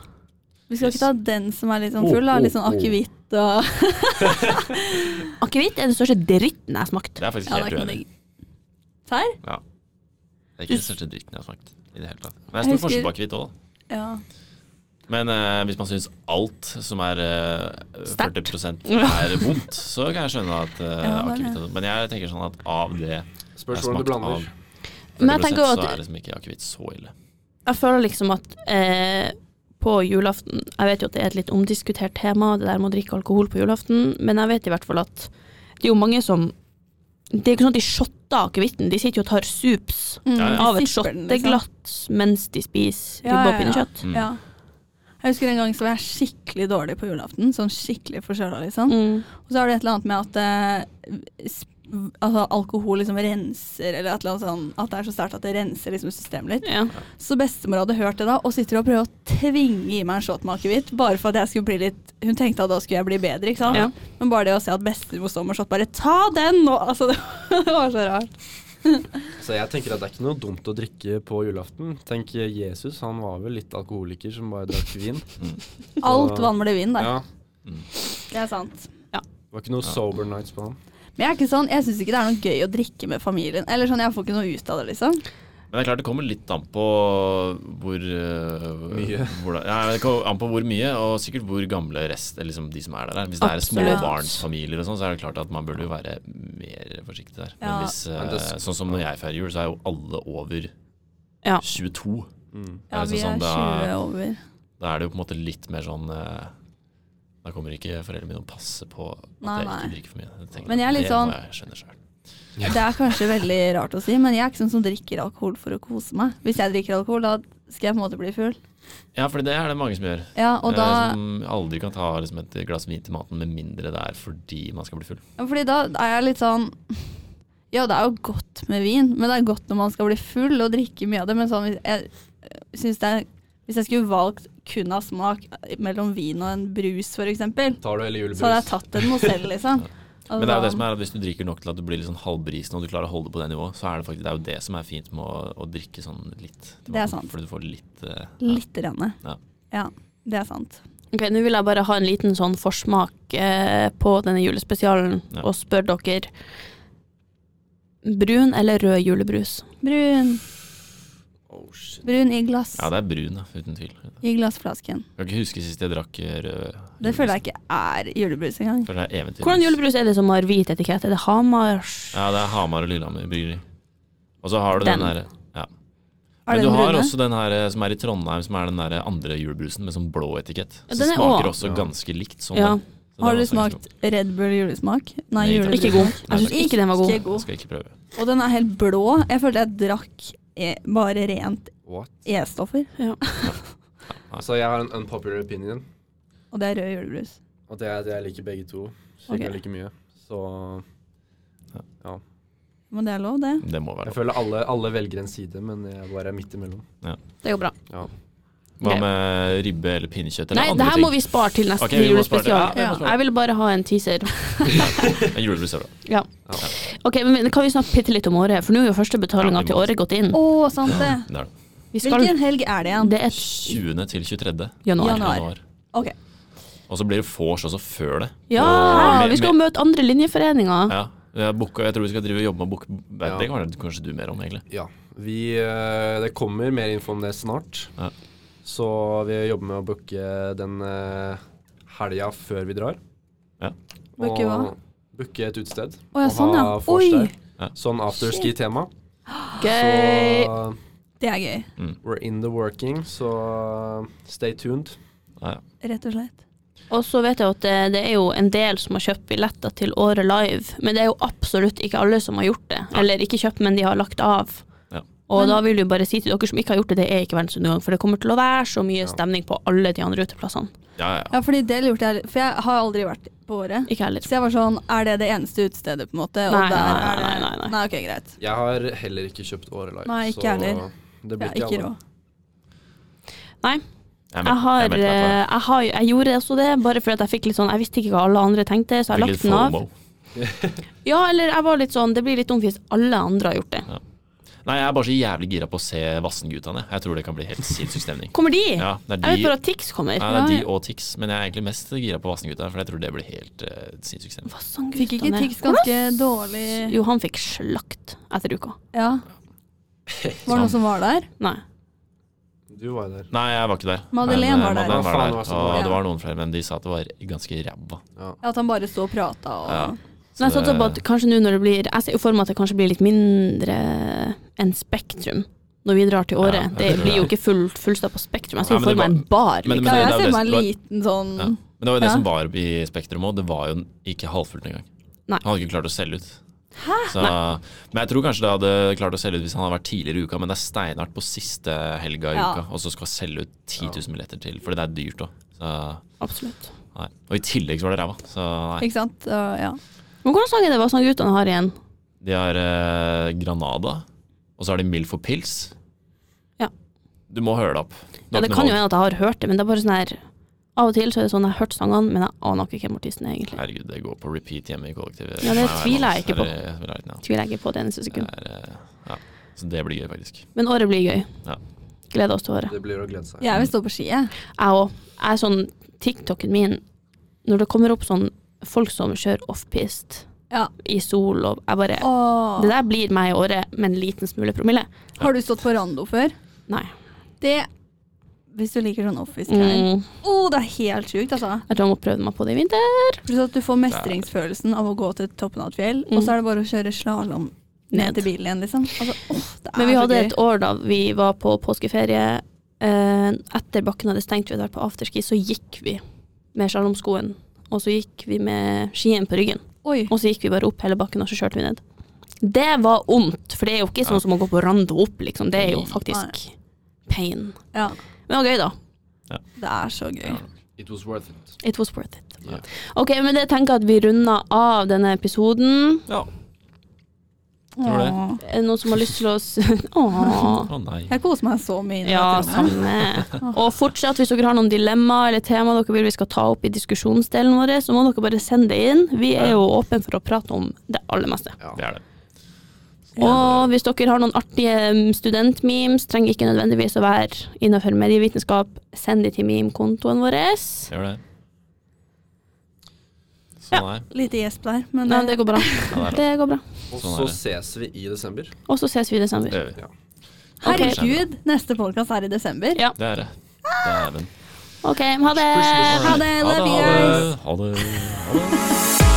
[SPEAKER 4] Vi skal
[SPEAKER 2] Yes.
[SPEAKER 4] ikke ta den som er litt sånn
[SPEAKER 5] Oh,
[SPEAKER 4] full, da.
[SPEAKER 5] oh,
[SPEAKER 4] Litt sånn
[SPEAKER 5] oh.
[SPEAKER 4] akevitt og
[SPEAKER 3] Akevitt er den største dritten jeg har smakt.
[SPEAKER 2] Det er faktisk
[SPEAKER 4] Ja, det
[SPEAKER 2] helt
[SPEAKER 4] er ikke noe
[SPEAKER 2] uenig.
[SPEAKER 4] digg. Serr?
[SPEAKER 2] Ja. Det er ikke den største dritten jeg har smakt i det hele tatt. Men det er
[SPEAKER 4] Jeg
[SPEAKER 2] stor
[SPEAKER 4] husker-
[SPEAKER 2] forskjell på akevitt òg, da.
[SPEAKER 4] Ja.
[SPEAKER 2] Men eh, hvis man syns alt som er eh,
[SPEAKER 3] Sterkt.
[SPEAKER 2] 40 er vondt, så kan jeg skjønne at eh,
[SPEAKER 4] Ja, det er
[SPEAKER 2] akevitt er dumt. Men jeg tenker sånn at av det jeg
[SPEAKER 5] Spørs
[SPEAKER 2] har
[SPEAKER 5] hvordan du
[SPEAKER 2] smakt av
[SPEAKER 5] blander.
[SPEAKER 2] 40
[SPEAKER 3] Men jeg tenker jo
[SPEAKER 2] så
[SPEAKER 3] at-
[SPEAKER 2] er liksom ikke akevitt så ille.
[SPEAKER 3] Jeg føler liksom at eh, på julaften Jeg vet jo at det er et litt omdiskutert tema, det der med å drikke alkohol på julaften, men jeg vet i hvert fall at det er jo mange som Det er jo ikke sånn at de shotter akevitten, de sitter jo og tar sups
[SPEAKER 2] Ja, ja.
[SPEAKER 3] av et
[SPEAKER 4] Sipper den, liksom.
[SPEAKER 3] shotteglass mens de spiser ribbe
[SPEAKER 4] Ja,
[SPEAKER 3] og
[SPEAKER 4] ja, ja.
[SPEAKER 3] pinnekjøtt.
[SPEAKER 2] Mm.
[SPEAKER 4] Ja. Jeg husker en gang så var jeg skikkelig dårlig på julaften. Sånn skikkelig forkjøla, liksom.
[SPEAKER 3] Mm.
[SPEAKER 4] Og så er det et eller annet med at eh, s- altså, alkohol liksom renser, eller et eller annet sånn At det er så sterkt at det renser liksom systemet litt.
[SPEAKER 3] Ja.
[SPEAKER 4] Så bestemor hadde hørt det da, og sitter og prøver å tvinge i meg en shot med akevitt. Bare for at jeg skulle bli litt Hun tenkte at da skulle jeg bli bedre, ikke sant.
[SPEAKER 3] Ja.
[SPEAKER 4] Men bare det å se at bestemor står med shot, bare ta den nå! Altså, det var så rart.
[SPEAKER 5] Så jeg tenker at det er ikke noe dumt å drikke på julaften. Tenk eh, Jesus, han var vel litt alkoholiker som bare drakk vin.
[SPEAKER 4] Alt vann ble vin der.
[SPEAKER 5] Ja,
[SPEAKER 4] Det er sant.
[SPEAKER 5] det var ikke noe sober nights på han.
[SPEAKER 4] Men jeg er ikke sånn, jeg syns ikke det er noe gøy å drikke med familien. Eller sånn, Jeg får ikke noe ut av det, liksom.
[SPEAKER 2] Men det er klart det kommer litt an på hvor eh,
[SPEAKER 5] Mye.
[SPEAKER 2] hvordan- ja, det kommer an på hvor mye, og sikkert hvor gamle rest, eller liksom de som er der, er. Hvis det er
[SPEAKER 3] Absolutt.
[SPEAKER 2] småbarnsfamilier og sånn, så er det klart at man burde jo være mer forsiktig der. Men
[SPEAKER 4] Ja.
[SPEAKER 2] hvis, eh,
[SPEAKER 5] Men det sk-
[SPEAKER 2] sånn som når jeg feirer jul, så er jo alle over
[SPEAKER 3] Ja.
[SPEAKER 2] 22.
[SPEAKER 5] Mm.
[SPEAKER 2] Ja,
[SPEAKER 4] Ja,
[SPEAKER 2] liksom
[SPEAKER 4] vi
[SPEAKER 2] sånn,
[SPEAKER 4] er
[SPEAKER 2] da-
[SPEAKER 4] 20 over.
[SPEAKER 2] Da er det jo på en måte litt mer sånn eh, Da kommer ikke foreldrene mine og passer på at
[SPEAKER 4] Nei,
[SPEAKER 2] jeg
[SPEAKER 4] nei.
[SPEAKER 2] ikke drikker for mye. Jeg tenker
[SPEAKER 4] Men jeg er
[SPEAKER 2] at
[SPEAKER 4] litt
[SPEAKER 2] det må
[SPEAKER 4] sånn-
[SPEAKER 2] jeg skjønne selv.
[SPEAKER 4] Det er kanskje veldig rart å si, men jeg er ikke sånn som drikker alkohol for å kose meg. Hvis jeg drikker alkohol, da skal jeg på en måte bli full.
[SPEAKER 2] Ja, for det er det mange som gjør.
[SPEAKER 4] Ja, og da,
[SPEAKER 2] eh, som aldri kan ta liksom, et glass vin til maten med mindre det er fordi man skal bli full.
[SPEAKER 4] ja, fordi da er jeg litt sånn Ja, det er jo godt med vin, men det er godt når man skal bli full og drikke mye av det. Men sånn, hvis jeg, øh, synes det er, hvis jeg skulle valgt kun av smak mellom vin og en brus, for eksempel,
[SPEAKER 5] Tar du hele julebrus?
[SPEAKER 4] så hadde jeg tatt en Mozell, liksom.
[SPEAKER 2] Men det er jo det som er at hvis du drikker nok til at du blir litt sånn halvbrisen og du klarer å holde det på det nivået, så er det faktisk det, er jo det som er fint med å, å drikke sånn litt. til
[SPEAKER 4] Det er
[SPEAKER 2] maten,
[SPEAKER 4] sant.
[SPEAKER 2] Fordi du får litt eh,
[SPEAKER 4] Litt. Rene.
[SPEAKER 2] Ja.
[SPEAKER 4] ja, det er sant.
[SPEAKER 3] Ok, Nå vil jeg bare ha en liten sånn forsmak eh, på denne julespesialen
[SPEAKER 2] Ja.
[SPEAKER 3] og spørre dere Brun eller rød julebrus?
[SPEAKER 4] Brun.
[SPEAKER 5] Oh, shit.
[SPEAKER 4] Brun i glass.
[SPEAKER 2] Ja, det er brun, da, uten tvil. Jeg
[SPEAKER 4] I glassflasken.
[SPEAKER 2] kan ikke huske sist jeg drakk eh, rød.
[SPEAKER 4] Det føler jeg ikke er julebrus engang.
[SPEAKER 2] Føler det er eventyr.
[SPEAKER 3] Hvordan julebrus er det som har hvit etikett? Er det Hamars?
[SPEAKER 2] Ja, det er Hamar og Lillehammer bryggeri. Og så har du den,
[SPEAKER 3] Den.
[SPEAKER 2] der Ja.
[SPEAKER 4] Er
[SPEAKER 2] Men
[SPEAKER 4] den
[SPEAKER 2] du har
[SPEAKER 4] brune?
[SPEAKER 2] også den her eh, som er i Trondheim, som er den der eh, andre julebrusen med sånn blå etikett.
[SPEAKER 3] Ja,
[SPEAKER 2] Så
[SPEAKER 3] den er
[SPEAKER 2] smaker
[SPEAKER 3] også-
[SPEAKER 2] også ganske likt. Sånn,
[SPEAKER 3] Ja.
[SPEAKER 2] den. Så
[SPEAKER 4] Har
[SPEAKER 2] den er
[SPEAKER 4] du
[SPEAKER 2] også liksom- ganske
[SPEAKER 4] smakt Red Bull julesmak? Nei,
[SPEAKER 2] Nei, takk.
[SPEAKER 4] julebrus.
[SPEAKER 3] Ikke god. Jeg syns ikke den var god.
[SPEAKER 2] god.
[SPEAKER 4] Ikke god.
[SPEAKER 2] Skal jeg ikke prøve.
[SPEAKER 4] Og den er helt blå. Jeg følte jeg drakk eh, bare rent
[SPEAKER 5] What?
[SPEAKER 4] E-stoffer.
[SPEAKER 5] Så jeg har en unpopular opinion.
[SPEAKER 4] Og det er rød julebrus.
[SPEAKER 5] Og det er at jeg liker begge to. Cirka
[SPEAKER 4] Ok.
[SPEAKER 5] like mye. Så
[SPEAKER 4] Men det er lov, det.
[SPEAKER 2] Det må være
[SPEAKER 5] jeg
[SPEAKER 2] lov.
[SPEAKER 5] føler alle, alle velger en side, men jeg bare er midt imellom.
[SPEAKER 3] Det går bra.
[SPEAKER 5] Ja.
[SPEAKER 2] Hva
[SPEAKER 3] Ok.
[SPEAKER 2] med ribbe eller pinnekjøtt eller
[SPEAKER 3] Nei, det
[SPEAKER 2] andre
[SPEAKER 3] her
[SPEAKER 2] ting?
[SPEAKER 3] må vi spare til neste
[SPEAKER 2] Ok, vi må spare til-
[SPEAKER 3] julespesial.
[SPEAKER 2] ja, vi må spare.
[SPEAKER 3] Jeg vil bare ha en teaser.
[SPEAKER 2] Ja, Julebrus er bra.
[SPEAKER 3] Ok, men Kan vi snakke bitte litt om året? For nå er jo første betalinga
[SPEAKER 2] Ja, vi må.
[SPEAKER 3] til året gått inn.
[SPEAKER 4] Å, sant det.
[SPEAKER 2] Det er det.
[SPEAKER 3] Vi skal,
[SPEAKER 4] Hvilken helg er det igjen?
[SPEAKER 3] det er
[SPEAKER 2] 20. til 23.
[SPEAKER 3] januar.
[SPEAKER 4] Januar.
[SPEAKER 2] januar.
[SPEAKER 4] Ok.
[SPEAKER 2] Og så blir det vors også før det.
[SPEAKER 3] Ja,
[SPEAKER 2] Med-
[SPEAKER 3] vi skal jo møte andre linjeforeninger.
[SPEAKER 2] Ja, jeg, booka, jeg tror vi skal drive og jobbe med å booke
[SPEAKER 5] Ja.
[SPEAKER 2] Det kan kanskje du mer om, egentlig.
[SPEAKER 5] Ja. Vi, eh, det kommer mer info om det snart.
[SPEAKER 2] Ja.
[SPEAKER 5] Så vi jobber med å booke den eh, helga før vi drar.
[SPEAKER 2] Ja.
[SPEAKER 4] Booke hva?
[SPEAKER 5] Booke et utested.
[SPEAKER 4] Å ja,
[SPEAKER 5] og
[SPEAKER 4] sånn, ja.
[SPEAKER 5] ha vors
[SPEAKER 4] Oi.
[SPEAKER 5] der.
[SPEAKER 2] Ja.
[SPEAKER 5] Sånn afterski-tema.
[SPEAKER 3] Gøy.
[SPEAKER 5] Så
[SPEAKER 4] Det er gøy.
[SPEAKER 5] we're in the working, så eh, stay tuned.
[SPEAKER 2] Ja, ja.
[SPEAKER 4] Rett og slett.
[SPEAKER 3] Og så vet jeg at det, det er jo en del som har kjøpt billetter til Året live, men det er jo absolutt ikke alle som har gjort det. Eller ikke kjøpt, men de har lagt av.
[SPEAKER 2] Ja.
[SPEAKER 3] Og da vil vi bare si til dere som ikke har gjort det, det er ikke verdensundergang, for det kommer til å være så mye stemning på alle de andre uteplassene.
[SPEAKER 2] ja, ja.
[SPEAKER 4] Ja, fordi det lurte jeg For jeg har aldri vært på Året.
[SPEAKER 3] Ikke heller.
[SPEAKER 4] Så jeg var sånn Er det det eneste utestedet, på en måte? Og
[SPEAKER 3] Nei,
[SPEAKER 4] der
[SPEAKER 3] nei,
[SPEAKER 4] er det
[SPEAKER 3] nei, nei, nei.
[SPEAKER 4] nei, ok, greit.
[SPEAKER 5] Jeg har heller ikke kjøpt Årelife.
[SPEAKER 4] Nei, ikke heller.
[SPEAKER 5] Det
[SPEAKER 4] Ja,
[SPEAKER 5] blir
[SPEAKER 4] ikke
[SPEAKER 5] ikke
[SPEAKER 4] råd.
[SPEAKER 5] alle.
[SPEAKER 3] Nei.
[SPEAKER 2] Jeg,
[SPEAKER 3] Jeg, har, eh,
[SPEAKER 2] meldte meg på det.
[SPEAKER 3] jeg, har, jeg gjorde også det, bare fordi at jeg fikk litt sånn Jeg visste ikke hva alle andre tenkte, så jeg
[SPEAKER 2] Fikk
[SPEAKER 3] har
[SPEAKER 2] litt
[SPEAKER 3] lagt den av.
[SPEAKER 2] FOMO.
[SPEAKER 3] Ja, eller jeg var litt sånn Det blir litt dumt hvis alle andre har gjort det.
[SPEAKER 2] Nei, jeg er bare så jævlig gira på å se Vassendgutane. Jeg tror det kan bli helt sinnssyk stemning.
[SPEAKER 3] Kommer de?
[SPEAKER 2] Ja, det er
[SPEAKER 3] Jeg
[SPEAKER 2] de,
[SPEAKER 3] vet bare at Tix kommer.
[SPEAKER 2] ja, det er de og Tix, men jeg er egentlig mest gira på Vassendgutane, for jeg tror det blir helt uh, sinnssyk stemning.
[SPEAKER 3] Hva sang
[SPEAKER 4] Fikk ikke
[SPEAKER 3] guttene?
[SPEAKER 4] Tix ganske dårlig
[SPEAKER 3] Jo, han fikk slakt etter uka.
[SPEAKER 4] Ja. Var det noen som var der?
[SPEAKER 3] Nei.
[SPEAKER 5] Du var jo der.
[SPEAKER 2] Nei, jeg var ikke der.
[SPEAKER 4] Madeleine
[SPEAKER 2] Men, eh,
[SPEAKER 4] var der.
[SPEAKER 2] Madeleine var
[SPEAKER 5] Ja, faen, det var
[SPEAKER 2] der.
[SPEAKER 5] sånn
[SPEAKER 2] Og
[SPEAKER 4] der.
[SPEAKER 2] det var noen flere, men de sa at det var ganske ræva.
[SPEAKER 4] Ja, At han bare sto og prata og
[SPEAKER 2] Ja.
[SPEAKER 3] Men jeg
[SPEAKER 2] Så
[SPEAKER 3] satser på at
[SPEAKER 2] det-
[SPEAKER 3] kanskje nå når det blir Jeg ser jo for meg at det kanskje blir litt mindre enn Spektrum når vi drar til
[SPEAKER 2] Ja,
[SPEAKER 3] året.
[SPEAKER 2] jeg
[SPEAKER 3] Det
[SPEAKER 2] tror det.
[SPEAKER 3] blir jo ikke full, fullstappa Spektrum. Jeg ser jo
[SPEAKER 2] Nei, men
[SPEAKER 3] for
[SPEAKER 2] det
[SPEAKER 3] meg en bar.
[SPEAKER 2] men-
[SPEAKER 3] liksom.
[SPEAKER 4] Ja,
[SPEAKER 2] det- det
[SPEAKER 4] jeg
[SPEAKER 2] er jo
[SPEAKER 4] ser
[SPEAKER 2] det-
[SPEAKER 4] meg en
[SPEAKER 2] det var-
[SPEAKER 4] liten sånn
[SPEAKER 2] Ja. Men det var jo det
[SPEAKER 4] Ja.
[SPEAKER 2] som var i Spektrum òg. Det var jo ikke halvfullt engang.
[SPEAKER 3] Nei.
[SPEAKER 2] Han hadde ikke klart å selge ut. Så, men jeg tror kanskje det hadde klart å selge ut hvis han hadde vært tidligere i uka, men det er steinhardt på siste helga i
[SPEAKER 4] Ja.
[SPEAKER 2] uka, og så skal selge ut 10 000 billetter til. Fordi det er dyrt òg.
[SPEAKER 3] Absolutt.
[SPEAKER 2] Og i tillegg så var det ræva. Så nei.
[SPEAKER 4] Ikke sant? Og, ja.
[SPEAKER 3] Men hvordan sang er det hva sang guttene har igjen?
[SPEAKER 2] De har eh, Granada, og så har de Mild for pils.
[SPEAKER 3] Ja.
[SPEAKER 2] Du må høre det opp. Du
[SPEAKER 3] Ja,
[SPEAKER 2] har
[SPEAKER 3] det
[SPEAKER 2] ikke noe
[SPEAKER 3] kan jo
[SPEAKER 2] valg.
[SPEAKER 3] hende at jeg har hørt det, men det er bare sånn her Av og til så er det sånn jeg har hørt sangene, men jeg aner ikke hvem artisten er, egentlig.
[SPEAKER 2] Herregud, det går på repeat hjemme i kollektivet.
[SPEAKER 3] Ja, det
[SPEAKER 2] Nei, nei,
[SPEAKER 3] tviler jeg
[SPEAKER 2] nå-
[SPEAKER 3] ikke på.
[SPEAKER 2] Eller- eller er det- ja.
[SPEAKER 3] Tviler jeg ikke på det eneste sekund.
[SPEAKER 2] Det er, eh, ja. Så det blir gøy, faktisk.
[SPEAKER 3] Men året blir gøy.
[SPEAKER 2] Ja.
[SPEAKER 3] Gleder oss til året.
[SPEAKER 5] Det blir å glede seg.
[SPEAKER 4] Jeg vil stå på ski, jeg.
[SPEAKER 3] Jeg òg. Jeg er sånn TikToken min Når det kommer opp sånn folk som kjører offpist
[SPEAKER 4] Ja.
[SPEAKER 3] i sol og Jeg bare
[SPEAKER 4] Åh.
[SPEAKER 3] Det der blir meg i året med en liten smule promille.
[SPEAKER 4] Har du stått på rando før?
[SPEAKER 3] Nei.
[SPEAKER 4] Det Hvis du liker sånn office-greier.
[SPEAKER 3] Mm.
[SPEAKER 4] Å, det er helt sjukt, altså.
[SPEAKER 3] Jeg tror jeg må prøve meg på det i vinter.
[SPEAKER 4] Pluss at du får mestringsfølelsen av å gå til toppen av et fjell,
[SPEAKER 3] Mm.
[SPEAKER 4] og så er det bare å kjøre slalåm ned
[SPEAKER 3] Ned.
[SPEAKER 4] til bilen igjen, liksom. Altså, åh, det er
[SPEAKER 3] Men vi
[SPEAKER 4] så
[SPEAKER 3] hadde
[SPEAKER 4] gøy.
[SPEAKER 3] et år da vi var på påskeferie. Eh, etter bakken hadde stengt, vi hadde vært på afterski, så gikk vi med slalåmskoen. Og så gikk vi med skien på ryggen.
[SPEAKER 4] Oi.
[SPEAKER 3] Og så gikk vi bare opp hele bakken, og så kjørte vi ned. Det var vondt, for det er jo ikke sånn som å gå på rando opp, liksom. Det er jo faktisk pain.
[SPEAKER 4] Ja.
[SPEAKER 3] Men det var gøy, da.
[SPEAKER 4] Det er så gøy.
[SPEAKER 5] It was worth it.
[SPEAKER 3] It was worth it.
[SPEAKER 5] Ja.
[SPEAKER 3] Ok, men det tenker jeg at vi runder av denne episoden.
[SPEAKER 2] Tror det.
[SPEAKER 4] Åh.
[SPEAKER 3] Er det Noen som har lyst til å s- Åh.
[SPEAKER 2] Å nei.
[SPEAKER 4] Jeg koser meg så mye. i dette
[SPEAKER 3] Ja,
[SPEAKER 4] rommet.
[SPEAKER 3] samme. Og fortsatt, hvis dere har noen dilemma eller tema dere vil vi skal ta opp i diskusjonsdelen vår, så må dere bare sende det inn. Vi er jo åpne for å prate om det aller meste.
[SPEAKER 2] Det er det.
[SPEAKER 3] Og hvis dere har noen artige mm, studentmemes, trenger ikke nødvendigvis å være innenfor medievitenskap, send de til meme-kontoen vår.
[SPEAKER 2] Gjør det. Så nei.
[SPEAKER 4] Lite gjesp der, men eh,
[SPEAKER 3] Nei, det går bra.
[SPEAKER 2] Ja, det er det.
[SPEAKER 3] Det går bra.
[SPEAKER 5] Og
[SPEAKER 2] Sånn
[SPEAKER 5] så
[SPEAKER 2] er det.
[SPEAKER 5] ses vi i desember.
[SPEAKER 3] Og så ses vi i
[SPEAKER 2] Det
[SPEAKER 3] desember.
[SPEAKER 2] gjør vi.
[SPEAKER 4] herregud, neste podkast er i desember.
[SPEAKER 3] Ja.
[SPEAKER 2] Det er det. Dæven.
[SPEAKER 3] OK, ha det!
[SPEAKER 4] Ha det, love you guys.
[SPEAKER 2] Ha det. Ha det. Ha det.